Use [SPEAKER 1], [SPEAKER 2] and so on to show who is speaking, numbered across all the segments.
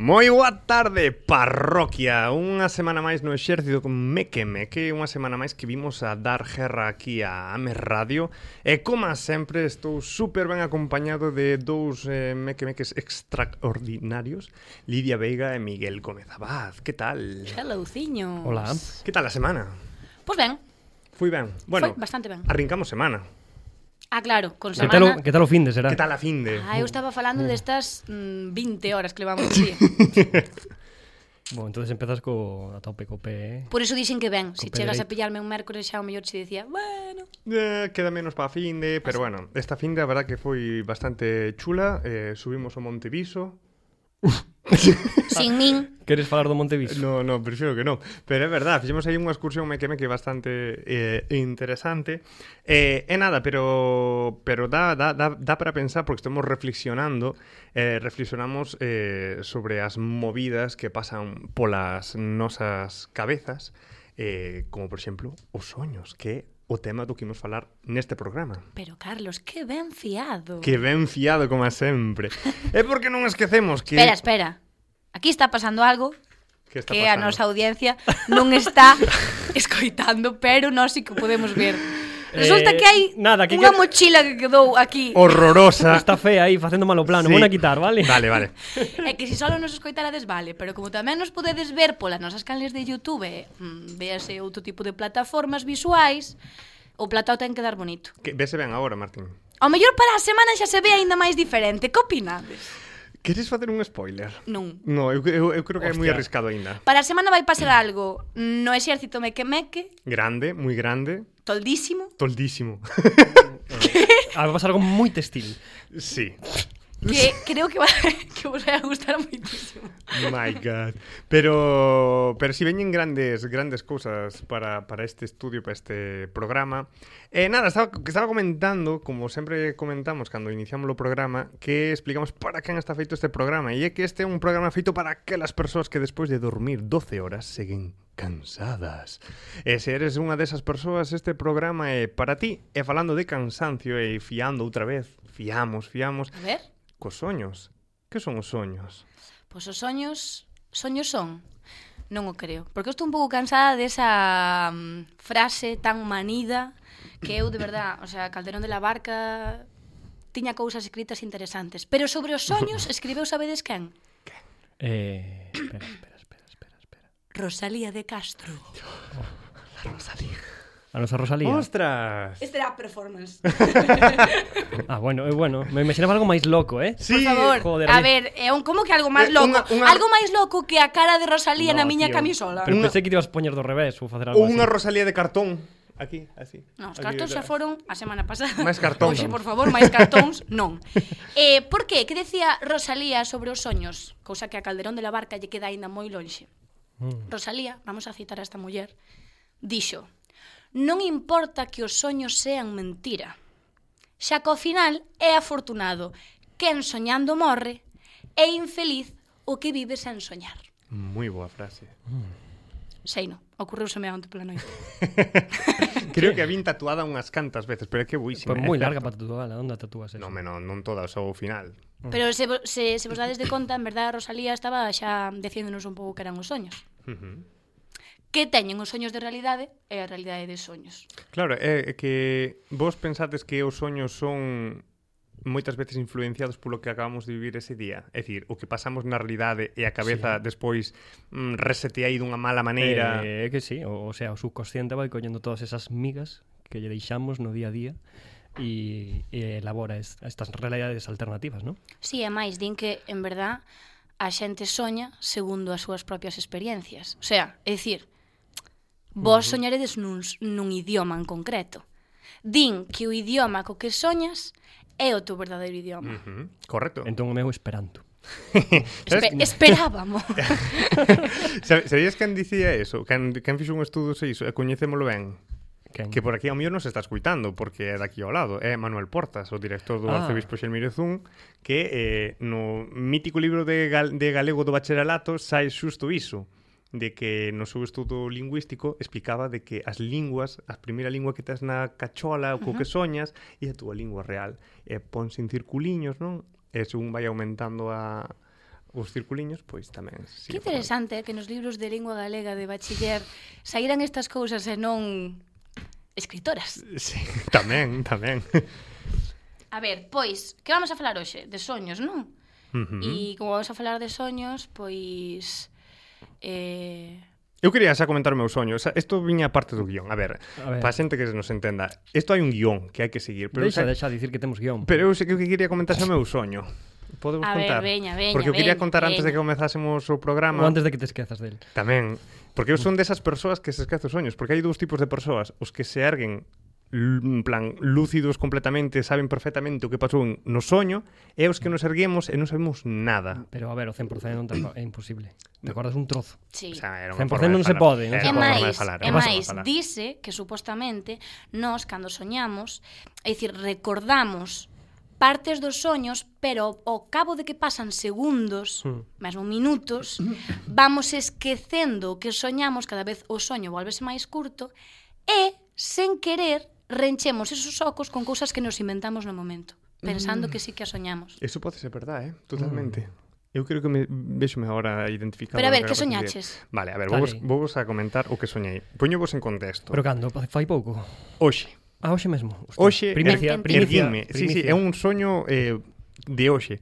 [SPEAKER 1] Moi boa tarde, parroquia Unha semana máis no exército con Meque Meque Unha semana máis que vimos a dar guerra aquí a Ames Radio E como sempre estou super ben acompañado de dous eh, Meque Meques extraordinarios Lidia Veiga e Miguel Gómez Abad Que tal?
[SPEAKER 2] Hellouciños.
[SPEAKER 3] Hola.
[SPEAKER 1] Que tal a semana?
[SPEAKER 2] Pois ben,
[SPEAKER 1] Foi ben Bueno,
[SPEAKER 2] foi bastante ben.
[SPEAKER 1] arrincamos semana
[SPEAKER 2] Ah, claro, con
[SPEAKER 3] Que tal,
[SPEAKER 2] semana.
[SPEAKER 3] o, que tal o fin de será?
[SPEAKER 1] Que tal a fin de?
[SPEAKER 2] Ah, eu estaba falando destas mm, 20 horas que levamos aquí.
[SPEAKER 3] Bon, entonces empezas co, a tope co pé, eh?
[SPEAKER 2] Por iso dixen que ben, se
[SPEAKER 3] Con
[SPEAKER 2] chegas a
[SPEAKER 3] Pedreito.
[SPEAKER 2] pillarme un mércores xa o mellor se dicía, bueno,
[SPEAKER 1] Eh, queda menos para fin de, pero bueno, esta fin de a verdad que foi bastante chula, eh, subimos ao Monte Viso.
[SPEAKER 3] Ah.
[SPEAKER 2] sin min.
[SPEAKER 3] Queres falar do Monteviso?
[SPEAKER 1] No, no, prefiero que non, pero é verdad, fixemos aí unha excursión me queme que bastante eh, interesante. Eh, é nada, pero pero dá, dá, dá, dá para pensar porque estamos reflexionando, eh, reflexionamos eh, sobre as movidas que pasan polas nosas cabezas, eh, como por exemplo os soños, que é o tema do que imos falar neste programa.
[SPEAKER 2] Pero Carlos, que ben fiado.
[SPEAKER 1] Que ben fiado como a sempre. É porque non esquecemos que
[SPEAKER 2] Espera, espera. Aquí está pasando algo
[SPEAKER 1] que está
[SPEAKER 2] que a
[SPEAKER 1] pasando.
[SPEAKER 2] nosa audiencia non está escoitando, pero nós sí que podemos ver. Resulta
[SPEAKER 3] Eh,
[SPEAKER 2] que hai
[SPEAKER 3] nada, que
[SPEAKER 2] unha
[SPEAKER 3] quer-
[SPEAKER 2] mochila que quedou aquí.
[SPEAKER 1] horrorosa.
[SPEAKER 3] Está fea aí, facendo malo plano,
[SPEAKER 1] Sí.
[SPEAKER 3] sí. a quitar, vale?
[SPEAKER 1] Vale, vale.
[SPEAKER 2] É que se só nos escoitarades vale, pero como tamén nos podedes ver polas nosas canles de Youtube e, mm, véase outro tipo de plataformas visuais, o platao ten que dar bonito.
[SPEAKER 1] Que vese ben agora, Martín.
[SPEAKER 2] Ao mellor para a semana xa se ve aínda máis diferente. Que opinades?
[SPEAKER 1] Queres facer un spoiler?
[SPEAKER 2] Non.
[SPEAKER 1] No, eu, eu, eu creo que é moi
[SPEAKER 3] Hostia.
[SPEAKER 1] arriscado aínda.
[SPEAKER 2] Para a semana vai pasar algo no exército meque meque,
[SPEAKER 1] Grande, moi grande,
[SPEAKER 2] toldísimo,
[SPEAKER 1] toldísimo.
[SPEAKER 3] A ver, pasar algo moi textil.
[SPEAKER 1] sí.
[SPEAKER 2] que creo que, va, que vos vai a gustar moitísimo.
[SPEAKER 1] My god. Pero pero si veñen grandes grandes cousas para, para este estudio, para este programa. Eh nada, estaba que estaba comentando, como sempre comentamos cando iniciamos o programa, que explicamos para quen está feito este programa e é que este é un programa feito para aquelas persoas que despois de dormir 12 horas seguen cansadas. E se eres unha desas persoas, este programa é para ti. E falando de cansancio e fiando outra vez, fiamos, fiamos
[SPEAKER 2] A ver,
[SPEAKER 1] cos soños. Que son os soños?
[SPEAKER 2] Pois os soños, soños son. Non o creo, porque eu estou un pouco cansada desa mm, frase tan manida que eu de verdad, o sea, Calderón de la Barca tiña cousas escritas interesantes, pero sobre os soños escribeu sabedes quen?
[SPEAKER 3] Eh, espera, espera, espera, espera, espera.
[SPEAKER 2] Rosalía de Castro.
[SPEAKER 3] A nosa Rosalía.
[SPEAKER 1] ¡Ostras!
[SPEAKER 2] Este era performance.
[SPEAKER 3] Ah, bueno, eh, bueno. Me imaginaba algo máis loco, eh?
[SPEAKER 1] Sí,
[SPEAKER 2] Por favor,
[SPEAKER 3] joder,
[SPEAKER 2] a
[SPEAKER 3] ali-
[SPEAKER 2] ver, é un como que algo máis
[SPEAKER 1] Eh,
[SPEAKER 2] loco,
[SPEAKER 1] unha- unha-
[SPEAKER 2] algo máis loco que a cara de Rosalía no, na
[SPEAKER 3] No,
[SPEAKER 2] miña
[SPEAKER 3] tío.
[SPEAKER 2] camisola.
[SPEAKER 3] Pero
[SPEAKER 1] Unha-
[SPEAKER 3] pensei que te ibas a poñer do revés ou facer algo
[SPEAKER 1] Ou unha
[SPEAKER 3] así.
[SPEAKER 1] Rosalía de cartón. Aquí, así.
[SPEAKER 2] Non, os
[SPEAKER 1] Aquí,
[SPEAKER 2] cartóns
[SPEAKER 1] da-
[SPEAKER 2] xa foron a semana pasada.
[SPEAKER 1] Máis cartóns.
[SPEAKER 2] Oxe, por favor, máis cartóns, non. Eh, por que? Que decía Rosalía sobre os soños? Cousa que a Calderón de la Barca lle queda aínda moi lonxe. Mm. Rosalía, vamos a citar a esta muller, dixo Non importa que os soños sean mentira, xa que ao final é afortunado quen soñando morre e infeliz o que vive sen soñar.
[SPEAKER 1] Moi boa frase.
[SPEAKER 2] Sei non, ocurreuseme onte pola noite.
[SPEAKER 1] Creo que a vin tatuada unhas cantas veces, pero é que buísima.
[SPEAKER 3] Pois
[SPEAKER 1] é
[SPEAKER 3] moi
[SPEAKER 1] certo.
[SPEAKER 3] larga para tatuala, onde a tatúas eso?
[SPEAKER 1] Non, me, non, non todas, só o final.
[SPEAKER 2] Pero se, vo- se, se vos dades de conta, en verdad, Rosalía estaba xa diciéndonos un pouco que eran os soños.
[SPEAKER 1] Ujú.
[SPEAKER 2] Que teñen os soños de realidade e a realidade de soños.
[SPEAKER 1] Claro, é é que vos pensades que os soños son moitas veces influenciados polo que acabamos de vivir ese día. É dicir, o que pasamos na realidade e a cabeza sí. despois mm, reseteai dunha mala maneira. Eh...
[SPEAKER 3] Eh, que sí, o, o sea, o subconsciente vai collendo todas esas migas que lle deixamos no día a día e, e elabora es, estas realidades alternativas, non?
[SPEAKER 2] Si, é máis, din que, en verdad, a xente soña segundo as súas propias experiencias. O sea, é dicir, vos soñaredes nun, s- nun idioma en concreto. Din que o idioma co que soñas é o teu verdadeiro idioma.
[SPEAKER 1] Uh -huh. Correcto.
[SPEAKER 3] Entón o meu esperanto.
[SPEAKER 1] Sabes
[SPEAKER 2] Espe esperábamos.
[SPEAKER 1] Sabe- Sabías quen dicía eso? Quen, quen fixo un estudo se iso? E coñecémolo ben.
[SPEAKER 3] Quen?
[SPEAKER 1] Que por aquí ao mío non se está escuitando Porque é daqui ao lado É Manuel Portas, o director do ah.
[SPEAKER 3] Ah.
[SPEAKER 1] Arcebispo Xelmiro Zun Que eh, no mítico libro de, gal de galego do bacharelato Sai xusto iso de que no seu estudo lingüístico explicaba de que as linguas, a primeira lingua que tes na cachola, o co que soñas, é a túa lingua real. E ponse en circuliños, non? E según vai aumentando a, os circuliños, pois tamén.
[SPEAKER 2] Que interesante eh, que nos libros de lingua galega de bachiller saíran estas cousas e non escritoras.
[SPEAKER 1] Sí, tamén, tamén.
[SPEAKER 2] A ver, pois, que vamos a falar hoxe? De soños, non?
[SPEAKER 1] Ujú.
[SPEAKER 2] E como vamos a falar de soños, pois... Eh,
[SPEAKER 1] Eu quería xa comentar o meu soño. Xa- Isto viña parte do guión. A ver,
[SPEAKER 3] A ver.
[SPEAKER 1] para xente que se nos entenda, isto hai un guión que hai que seguir. Pero, eu
[SPEAKER 3] Deixa,
[SPEAKER 1] xa-
[SPEAKER 3] deixa dicir que temos guión.
[SPEAKER 1] pero eu sei que o que quería comentar xa o meu soño. Podemos
[SPEAKER 2] A ver,
[SPEAKER 1] contar?
[SPEAKER 2] veña, veña,
[SPEAKER 1] Porque eu quería
[SPEAKER 2] veña,
[SPEAKER 1] contar antes de
[SPEAKER 2] veña.
[SPEAKER 1] que comezásemos o
[SPEAKER 3] Ou
[SPEAKER 1] programa.
[SPEAKER 3] antes de que te esquezas del.
[SPEAKER 1] Tamén, porque eu son desas persoas que se esquece os soños, porque hai dous tipos de persoas, os que se erguen l- en plan lúcidos completamente, saben perfectamente o que pasou en- no soño, e os que nos erguemos e non sabemos nada.
[SPEAKER 3] Pero a ver, o 100% non te... é imposible. Te acordas un trozo.
[SPEAKER 2] sí.
[SPEAKER 1] O sea, era
[SPEAKER 3] 100%
[SPEAKER 1] forma de
[SPEAKER 3] non se
[SPEAKER 1] falar.
[SPEAKER 3] pode, non
[SPEAKER 1] Era
[SPEAKER 3] se
[SPEAKER 2] É
[SPEAKER 1] unha forma de
[SPEAKER 2] máis,
[SPEAKER 1] falar, era
[SPEAKER 2] é
[SPEAKER 1] unha forma
[SPEAKER 2] máis,
[SPEAKER 1] de falar.
[SPEAKER 2] dice que supostamente nós cando soñamos, é dicir, recordamos partes dos soños, pero ao cabo de que pasan segundos,
[SPEAKER 1] Hmm.
[SPEAKER 3] Mm.
[SPEAKER 2] mesmo minutos, vamos esquecendo o que soñamos, cada vez o soño volvese máis curto e sen querer renchemos esos ocos con cousas que nos inventamos no momento, pensando que sí que a soñamos.
[SPEAKER 1] Eso pode ser verdade, eh?
[SPEAKER 3] Mm.
[SPEAKER 1] totalmente. Eu creo que me vexome agora identificado.
[SPEAKER 2] Pero a ver,
[SPEAKER 1] no
[SPEAKER 2] que
[SPEAKER 1] era
[SPEAKER 2] soñaches?
[SPEAKER 1] posible. Vale, a ver,
[SPEAKER 3] Dale.
[SPEAKER 1] vos, vos a comentar o que soñei. Poñovos en contexto.
[SPEAKER 3] Pero cando? Pa- Fai pouco.
[SPEAKER 1] Oxe,
[SPEAKER 3] Ah, hoxe mesmo.
[SPEAKER 1] Oxe,
[SPEAKER 3] Hostia, primicia,
[SPEAKER 2] er-
[SPEAKER 3] primicia,
[SPEAKER 1] erguinme. Sí,
[SPEAKER 3] primicia.
[SPEAKER 1] sí, é un soño eh, de hoxe.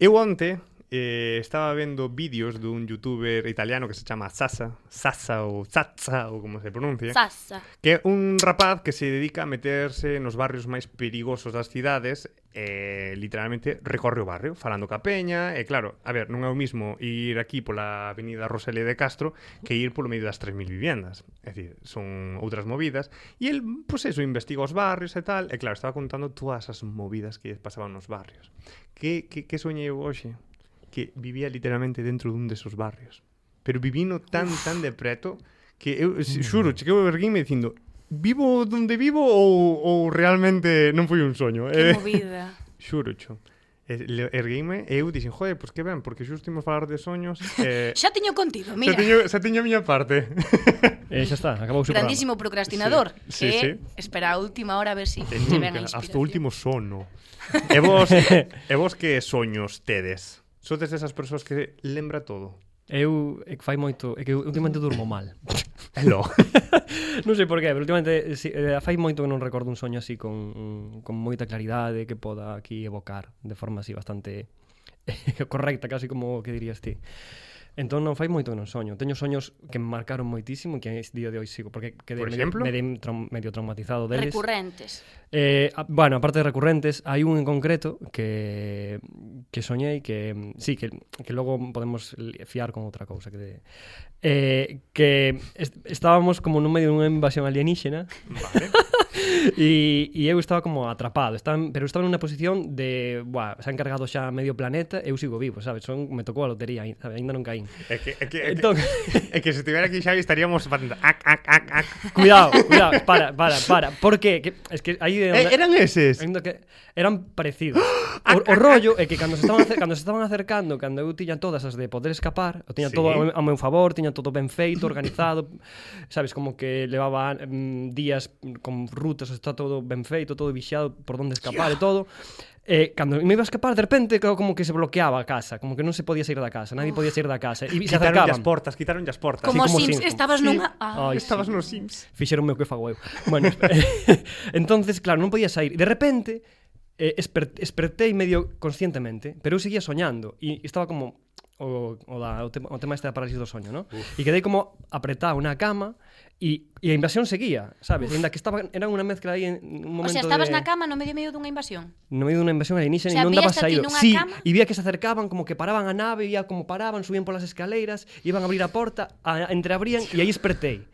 [SPEAKER 1] Eu onte eh, estaba vendo vídeos dun youtuber italiano que se chama Sasa, Sasa ou Zazza ou como se pronuncia,
[SPEAKER 2] Zaza.
[SPEAKER 1] que é un rapaz que se dedica a meterse nos barrios máis perigosos das cidades e literalmente recorre o barrio falando ca peña e claro, a ver, non é o mismo ir aquí pola avenida Rosalía de Castro que ir polo medio das 3.000 viviendas é dicir, son outras movidas e el, pois pues eso, investiga os barrios e tal e claro, estaba contando todas as movidas que lles pasaban nos barrios que, que, que soñei eu hoxe? que vivía literalmente dentro dun desos barrios pero vivino tan, tan de preto que eu se- xuro, chequei o erguinme dicindo vivo donde vivo ou, ou realmente non foi un soño eh?
[SPEAKER 2] Que movida.
[SPEAKER 1] xuro, cho E- le- ergueime e eu dixen, joder, pois que ben, porque xusto imos falar de soños eh,
[SPEAKER 2] Xa teño
[SPEAKER 1] xa,
[SPEAKER 2] contido, mira.
[SPEAKER 1] teño, xa teño a miña parte
[SPEAKER 3] Eh, xa está, acabou o seu
[SPEAKER 2] grandísimo procrastinador
[SPEAKER 1] Sí,
[SPEAKER 2] que
[SPEAKER 1] sí.
[SPEAKER 2] espera a última hora a ver si
[SPEAKER 1] E
[SPEAKER 2] lle ven
[SPEAKER 1] nunca,
[SPEAKER 2] a inspiración.
[SPEAKER 1] hasta o último sono e vos, e vos que soños tedes? Sodes desas persoas que lembra todo?
[SPEAKER 3] programa. Eu é que fai moito, é que últimamente durmo mal.
[SPEAKER 1] Hello.
[SPEAKER 3] non sei por qué, pero últimamente si, eh, fai moito que non recordo un soño así con, con moita claridade que poda aquí evocar de forma así bastante correcta, casi como que dirías ti. Entón non fai moito que non soño. Teño soños que me marcaron moitísimo e que a este día de hoy sigo, porque quedei
[SPEAKER 1] Por
[SPEAKER 3] medio,
[SPEAKER 1] exemplo?
[SPEAKER 3] medio, traum- medio traumatizado deles.
[SPEAKER 2] recurrentes.
[SPEAKER 3] Eh, a- bueno, aparte de recurrentes, hai un en concreto que que soñei que mm, sí, que, que logo podemos li- fiar con outra cousa que de, eh, que est estábamos como nun medio dunha invasión alienígena
[SPEAKER 1] Vale.
[SPEAKER 3] e, e eu estaba como atrapado, estaba, en- pero estaba nunha posición de, buah, se han cargado xa medio planeta, eu sigo vivo, sabes? Son, me tocou a lotería, ai- sabe, aínda non caín.
[SPEAKER 1] É que, é que, é que,
[SPEAKER 3] Entón,
[SPEAKER 1] é que se tivera aquí Xavi estaríamos facendo ac, ac, ac, ac.
[SPEAKER 3] cuidado, cuidado, para, para, para, porque que, es que aí é
[SPEAKER 1] Eh,
[SPEAKER 3] onde-
[SPEAKER 1] eran eses.
[SPEAKER 3] Ainda que eran parecidos.
[SPEAKER 1] Ah,
[SPEAKER 3] O, o rollo é que cando se estaban acer- cando se estaban acercando, cando eu tiña todas as de poder escapar, eu tiña
[SPEAKER 1] Sí.
[SPEAKER 3] sí. todo ao meu- ao meu favor, tiña todo ben feito, organizado, sabes, como que levaba mm, días mm, con rutas, está todo ben feito, todo vixiado por onde escapar yeah. e todo. Eh, cando me iba a escapar, de repente, claro, como que se bloqueaba a casa, como que non se podía sair da casa, nadie podía sair da casa, e se
[SPEAKER 1] Quitaron as
[SPEAKER 3] acercaban.
[SPEAKER 1] portas, quitaron as portas.
[SPEAKER 2] Como,
[SPEAKER 3] como
[SPEAKER 2] Sims,
[SPEAKER 3] Sims.
[SPEAKER 2] estabas
[SPEAKER 1] Sí.
[SPEAKER 2] nunha... Ah,
[SPEAKER 3] Ai,
[SPEAKER 1] Estabas
[SPEAKER 3] sí.
[SPEAKER 1] nos Sims.
[SPEAKER 3] fixeronme o que fago eu. Bueno, entonces, claro, non podía sair. De repente, eh, esper, espertei medio conscientemente, pero eu seguía soñando e estaba como o, o, da, o, tema, o tema este da parálisis do soño, ¿no? E quedei como apretado na cama e, e a invasión seguía, sabes? Ainda que estaba era unha mezcla aí en un
[SPEAKER 2] o
[SPEAKER 3] momento
[SPEAKER 2] sea, estabas
[SPEAKER 3] de...
[SPEAKER 2] na cama no medio medio dunha invasión.
[SPEAKER 3] no medio dunha invasión alienígena
[SPEAKER 2] O sea,
[SPEAKER 3] e non daba
[SPEAKER 2] víaste a ti
[SPEAKER 3] saído.
[SPEAKER 2] nunha
[SPEAKER 3] Sí,
[SPEAKER 2] cama?
[SPEAKER 3] e vía que se acercaban, como que paraban a nave, vía como paraban, subían polas escaleiras, iban a abrir a porta, a, entreabrían e aí espertei.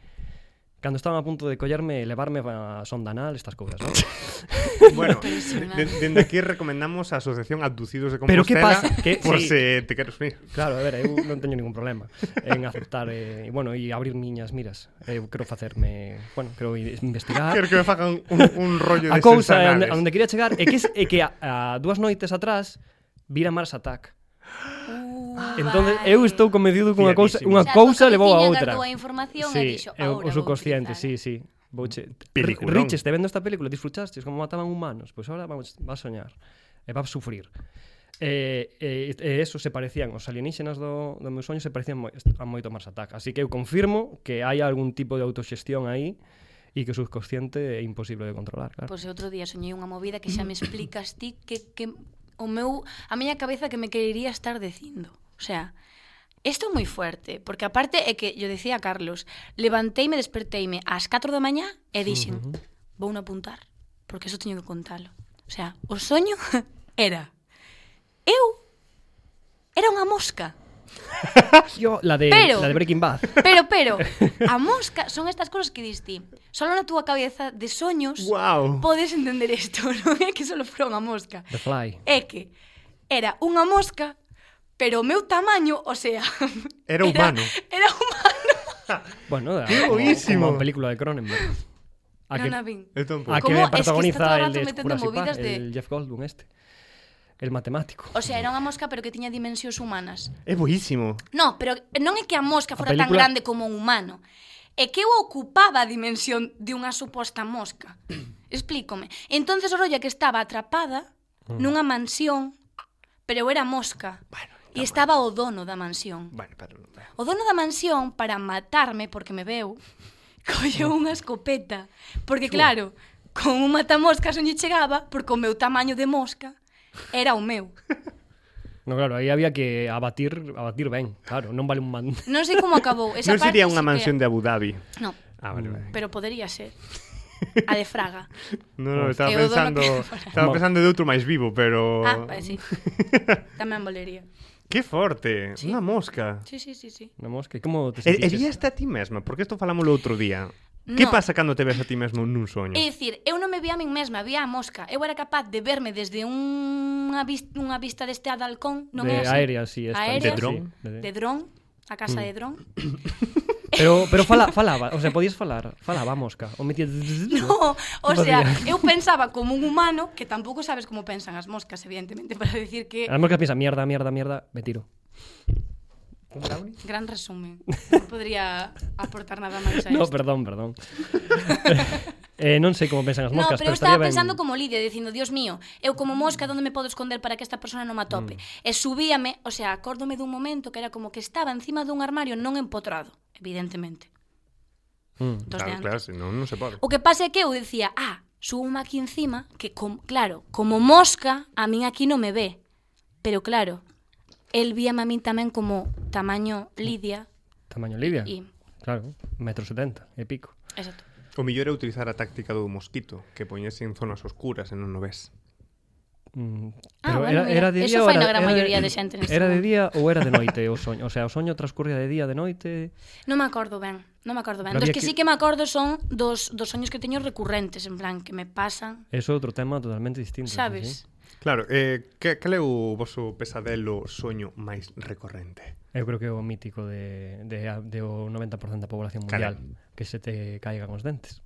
[SPEAKER 3] Cando estaban a punto de collarme e levarme a sonda anal, estas cousas, non?
[SPEAKER 1] Bueno,
[SPEAKER 2] Impresionante.
[SPEAKER 1] de- dende aquí recomendamos a Asociación Abducidos de
[SPEAKER 3] Pero
[SPEAKER 1] Compostela.
[SPEAKER 3] que pasa? Que-
[SPEAKER 1] Por
[SPEAKER 3] sí.
[SPEAKER 1] se te queres unir.
[SPEAKER 3] Claro, a ver, eu non teño ningún problema en aceptar eh, e, bueno, e abrir miñas miras. Eu quero facerme, bueno, quero i- investigar.
[SPEAKER 1] Quero que me fagan un, un rollo de
[SPEAKER 3] Ah. a cousa é onde,
[SPEAKER 1] sensanales.
[SPEAKER 3] a onde quería chegar é que, es- é que a, a dúas noites atrás vira Mars Attack.
[SPEAKER 2] Uh,
[SPEAKER 3] Entón, Ah, eu estou convencido que unha cousa,
[SPEAKER 1] Fiadísimo.
[SPEAKER 3] unha
[SPEAKER 1] O
[SPEAKER 3] cousa levou a outra.
[SPEAKER 2] a información e dixo,
[SPEAKER 3] é o-
[SPEAKER 2] "Ahora
[SPEAKER 3] o
[SPEAKER 2] vou
[SPEAKER 3] subconsciente, sí,
[SPEAKER 2] utilizar".
[SPEAKER 3] sí. Vouche,
[SPEAKER 1] Peliculón.
[SPEAKER 3] Rich, este vendo esta película, disfrutastes como mataban humanos, pois pues agora vamos, vas a soñar. E vas a sufrir. E, e, e eso se parecían os alienígenas do, do meu soño se parecían moi, a moito Mars Attack así que eu confirmo que hai algún tipo de autoxestión aí e que o subconsciente é imposible de controlar claro.
[SPEAKER 2] Pois pues, outro día soñei unha movida que xa me explicas ti que, que o meu a miña cabeza que me querería estar dicindo. O sea, isto é moi fuerte, porque aparte é que, yo decía a Carlos, levanteime, desperteime ás 4 da mañá e dixen, uh -huh. vou non apuntar, porque eso teño que contalo. O sea, o soño era, eu era unha mosca,
[SPEAKER 3] Yo, la, de,
[SPEAKER 2] Pero-
[SPEAKER 3] la de Breaking Bad
[SPEAKER 2] Pero, pero, a mosca son estas cosas que dis ti. Solo na túa cabeza de soños
[SPEAKER 1] Guau.
[SPEAKER 2] podes entender isto, non é que solo fora unha mosca.
[SPEAKER 3] The Fly
[SPEAKER 2] É que era unha mosca, pero o meu tamaño, o sea...
[SPEAKER 1] Era humano.
[SPEAKER 2] Era, humano.
[SPEAKER 3] bueno, da-
[SPEAKER 1] Qué
[SPEAKER 3] como-
[SPEAKER 1] buenísimo.
[SPEAKER 3] como a película de Cronenberg a
[SPEAKER 2] non
[SPEAKER 3] que,
[SPEAKER 2] a vin.
[SPEAKER 1] Eu
[SPEAKER 3] a
[SPEAKER 1] tampouco.
[SPEAKER 3] que
[SPEAKER 2] ¿Cómo? Es que está todo
[SPEAKER 3] protagoniza
[SPEAKER 2] el
[SPEAKER 3] el
[SPEAKER 2] rato
[SPEAKER 3] de
[SPEAKER 2] metiendo
[SPEAKER 3] Jurassic Park
[SPEAKER 2] movidas de-
[SPEAKER 3] el Jeff Goldblum este el matemático
[SPEAKER 2] O sea, era unha mosca, pero que tiña dimensións humanas.
[SPEAKER 1] É boísimo.
[SPEAKER 2] No, pero non é que a mosca
[SPEAKER 3] A
[SPEAKER 2] fora tan
[SPEAKER 3] película-
[SPEAKER 2] grande como un humano. É que eu ocupaba a dimensión de unha suposta mosca. Explícome. Entonces o rollo é que estaba atrapada nunha mansión, pero eu era mosca.
[SPEAKER 1] Bueno,
[SPEAKER 2] E estaba o dono da mansión.
[SPEAKER 1] Bueno, pero...
[SPEAKER 2] O dono da mansión, para matarme, porque me veu, colleu
[SPEAKER 1] Oh.
[SPEAKER 2] unha escopeta. Porque, claro, con un matamoscas non lle chegaba, porque o meu tamaño de mosca era o meu.
[SPEAKER 3] no claro, aí había que abatir abatir ben, claro, non vale un man
[SPEAKER 2] Non sei como acabou. Esa
[SPEAKER 1] Non sería
[SPEAKER 2] parte
[SPEAKER 1] unha
[SPEAKER 2] sí
[SPEAKER 1] mansión
[SPEAKER 2] que...
[SPEAKER 1] de Abu Dhabi.
[SPEAKER 2] No,
[SPEAKER 1] Ah,
[SPEAKER 3] Mm.
[SPEAKER 1] vale, vale.
[SPEAKER 2] pero podería ser. A de Fraga.
[SPEAKER 1] No, no, estaba
[SPEAKER 2] Eu dono
[SPEAKER 1] pensando,
[SPEAKER 2] que-
[SPEAKER 1] estaba pensando de outro máis vivo, pero
[SPEAKER 2] Ah, pa, sí. Tamén volería.
[SPEAKER 1] Que forte,
[SPEAKER 2] Sí.
[SPEAKER 1] unha mosca.
[SPEAKER 2] Sí, sí, sí, sí.
[SPEAKER 3] Na mosca, como te
[SPEAKER 1] E, e
[SPEAKER 3] sentiches?
[SPEAKER 1] víaste a ti mesma, porque isto falámoslo outro día. Que
[SPEAKER 2] No. Eh,
[SPEAKER 1] pasa cando te ves a ti mesmo nun soño?
[SPEAKER 2] É dicir, eu non me vía a min mesma, vía a mosca. Eu era capaz de verme desde unha vista, unha vista deste adalcón, non é
[SPEAKER 3] de
[SPEAKER 2] así.
[SPEAKER 3] aérea, sí, esta,
[SPEAKER 2] Aérea,
[SPEAKER 1] De dron. Mm.
[SPEAKER 3] sí, de-
[SPEAKER 2] De dron, a casa de dron.
[SPEAKER 3] Pero, pero fala, falaba, o sea, podías falar, falaba a mosca. O metía...
[SPEAKER 2] No, o sea,
[SPEAKER 3] Podía.
[SPEAKER 2] eu pensaba como un humano, que tampouco sabes como pensan as moscas, evidentemente, para decir que...
[SPEAKER 3] A mosca piensa, mierda, mierda, mierda, me tiro.
[SPEAKER 2] Gran resumen. Non podría aportar nada máis a isto.
[SPEAKER 3] No, perdón, perdón. eh, non sei como pensan as
[SPEAKER 2] No,
[SPEAKER 3] moscas,
[SPEAKER 2] pero eu
[SPEAKER 3] pero,
[SPEAKER 2] estaba
[SPEAKER 3] estaría
[SPEAKER 2] pensando
[SPEAKER 3] ben...
[SPEAKER 2] como Lidia, dicindo, Dios mío, eu como mosca, onde me podo esconder para que esta persona non me atope? Mm. E subíame, o sea, acórdome dun momento que era como que estaba encima dun armario non empotrado, evidentemente.
[SPEAKER 3] Mm.
[SPEAKER 2] Dos de
[SPEAKER 1] Claro,
[SPEAKER 2] antes.
[SPEAKER 1] claro, si non, non se pode.
[SPEAKER 2] O que pasa é que eu dicía, ah, subo aquí encima, que com, claro, como mosca, a min aquí non me ve. Pero claro, el víame a min tamén como tamaño Lidia.
[SPEAKER 3] Tamaño Lidia.
[SPEAKER 2] Y-
[SPEAKER 3] Claro, metro setenta e pico.
[SPEAKER 2] Exacto.
[SPEAKER 1] O mellor é utilizar a táctica do mosquito, que poñese en zonas oscuras e non o ves.
[SPEAKER 3] Mm,
[SPEAKER 2] Ah,
[SPEAKER 3] pero
[SPEAKER 2] bueno,
[SPEAKER 3] era,
[SPEAKER 2] mira,
[SPEAKER 3] era de
[SPEAKER 2] eso
[SPEAKER 3] día ou
[SPEAKER 2] fai
[SPEAKER 3] era-
[SPEAKER 2] na gran
[SPEAKER 3] era
[SPEAKER 2] maioría
[SPEAKER 3] de,
[SPEAKER 2] de xente neste
[SPEAKER 3] Era de
[SPEAKER 2] mundo.
[SPEAKER 3] día ou era de noite o soño? O sea, o soño transcurría de día, de noite...
[SPEAKER 2] Non me acordo ben, non me acordo ben.
[SPEAKER 3] Pero
[SPEAKER 2] Dos
[SPEAKER 3] había
[SPEAKER 2] que
[SPEAKER 3] que-
[SPEAKER 2] sí que me acordo son dos, dos soños que teño recurrentes, en plan, que me pasan
[SPEAKER 3] Eso é outro tema totalmente distinto. sí, sí.
[SPEAKER 2] Sabes?
[SPEAKER 1] Claro, eh, que, cal é o vosso pesadelo soño máis recorrente?
[SPEAKER 3] Eu creo que é o mítico de, de, a- de o 90% da población mundial
[SPEAKER 1] Cale.
[SPEAKER 3] que se te caigan os dentes.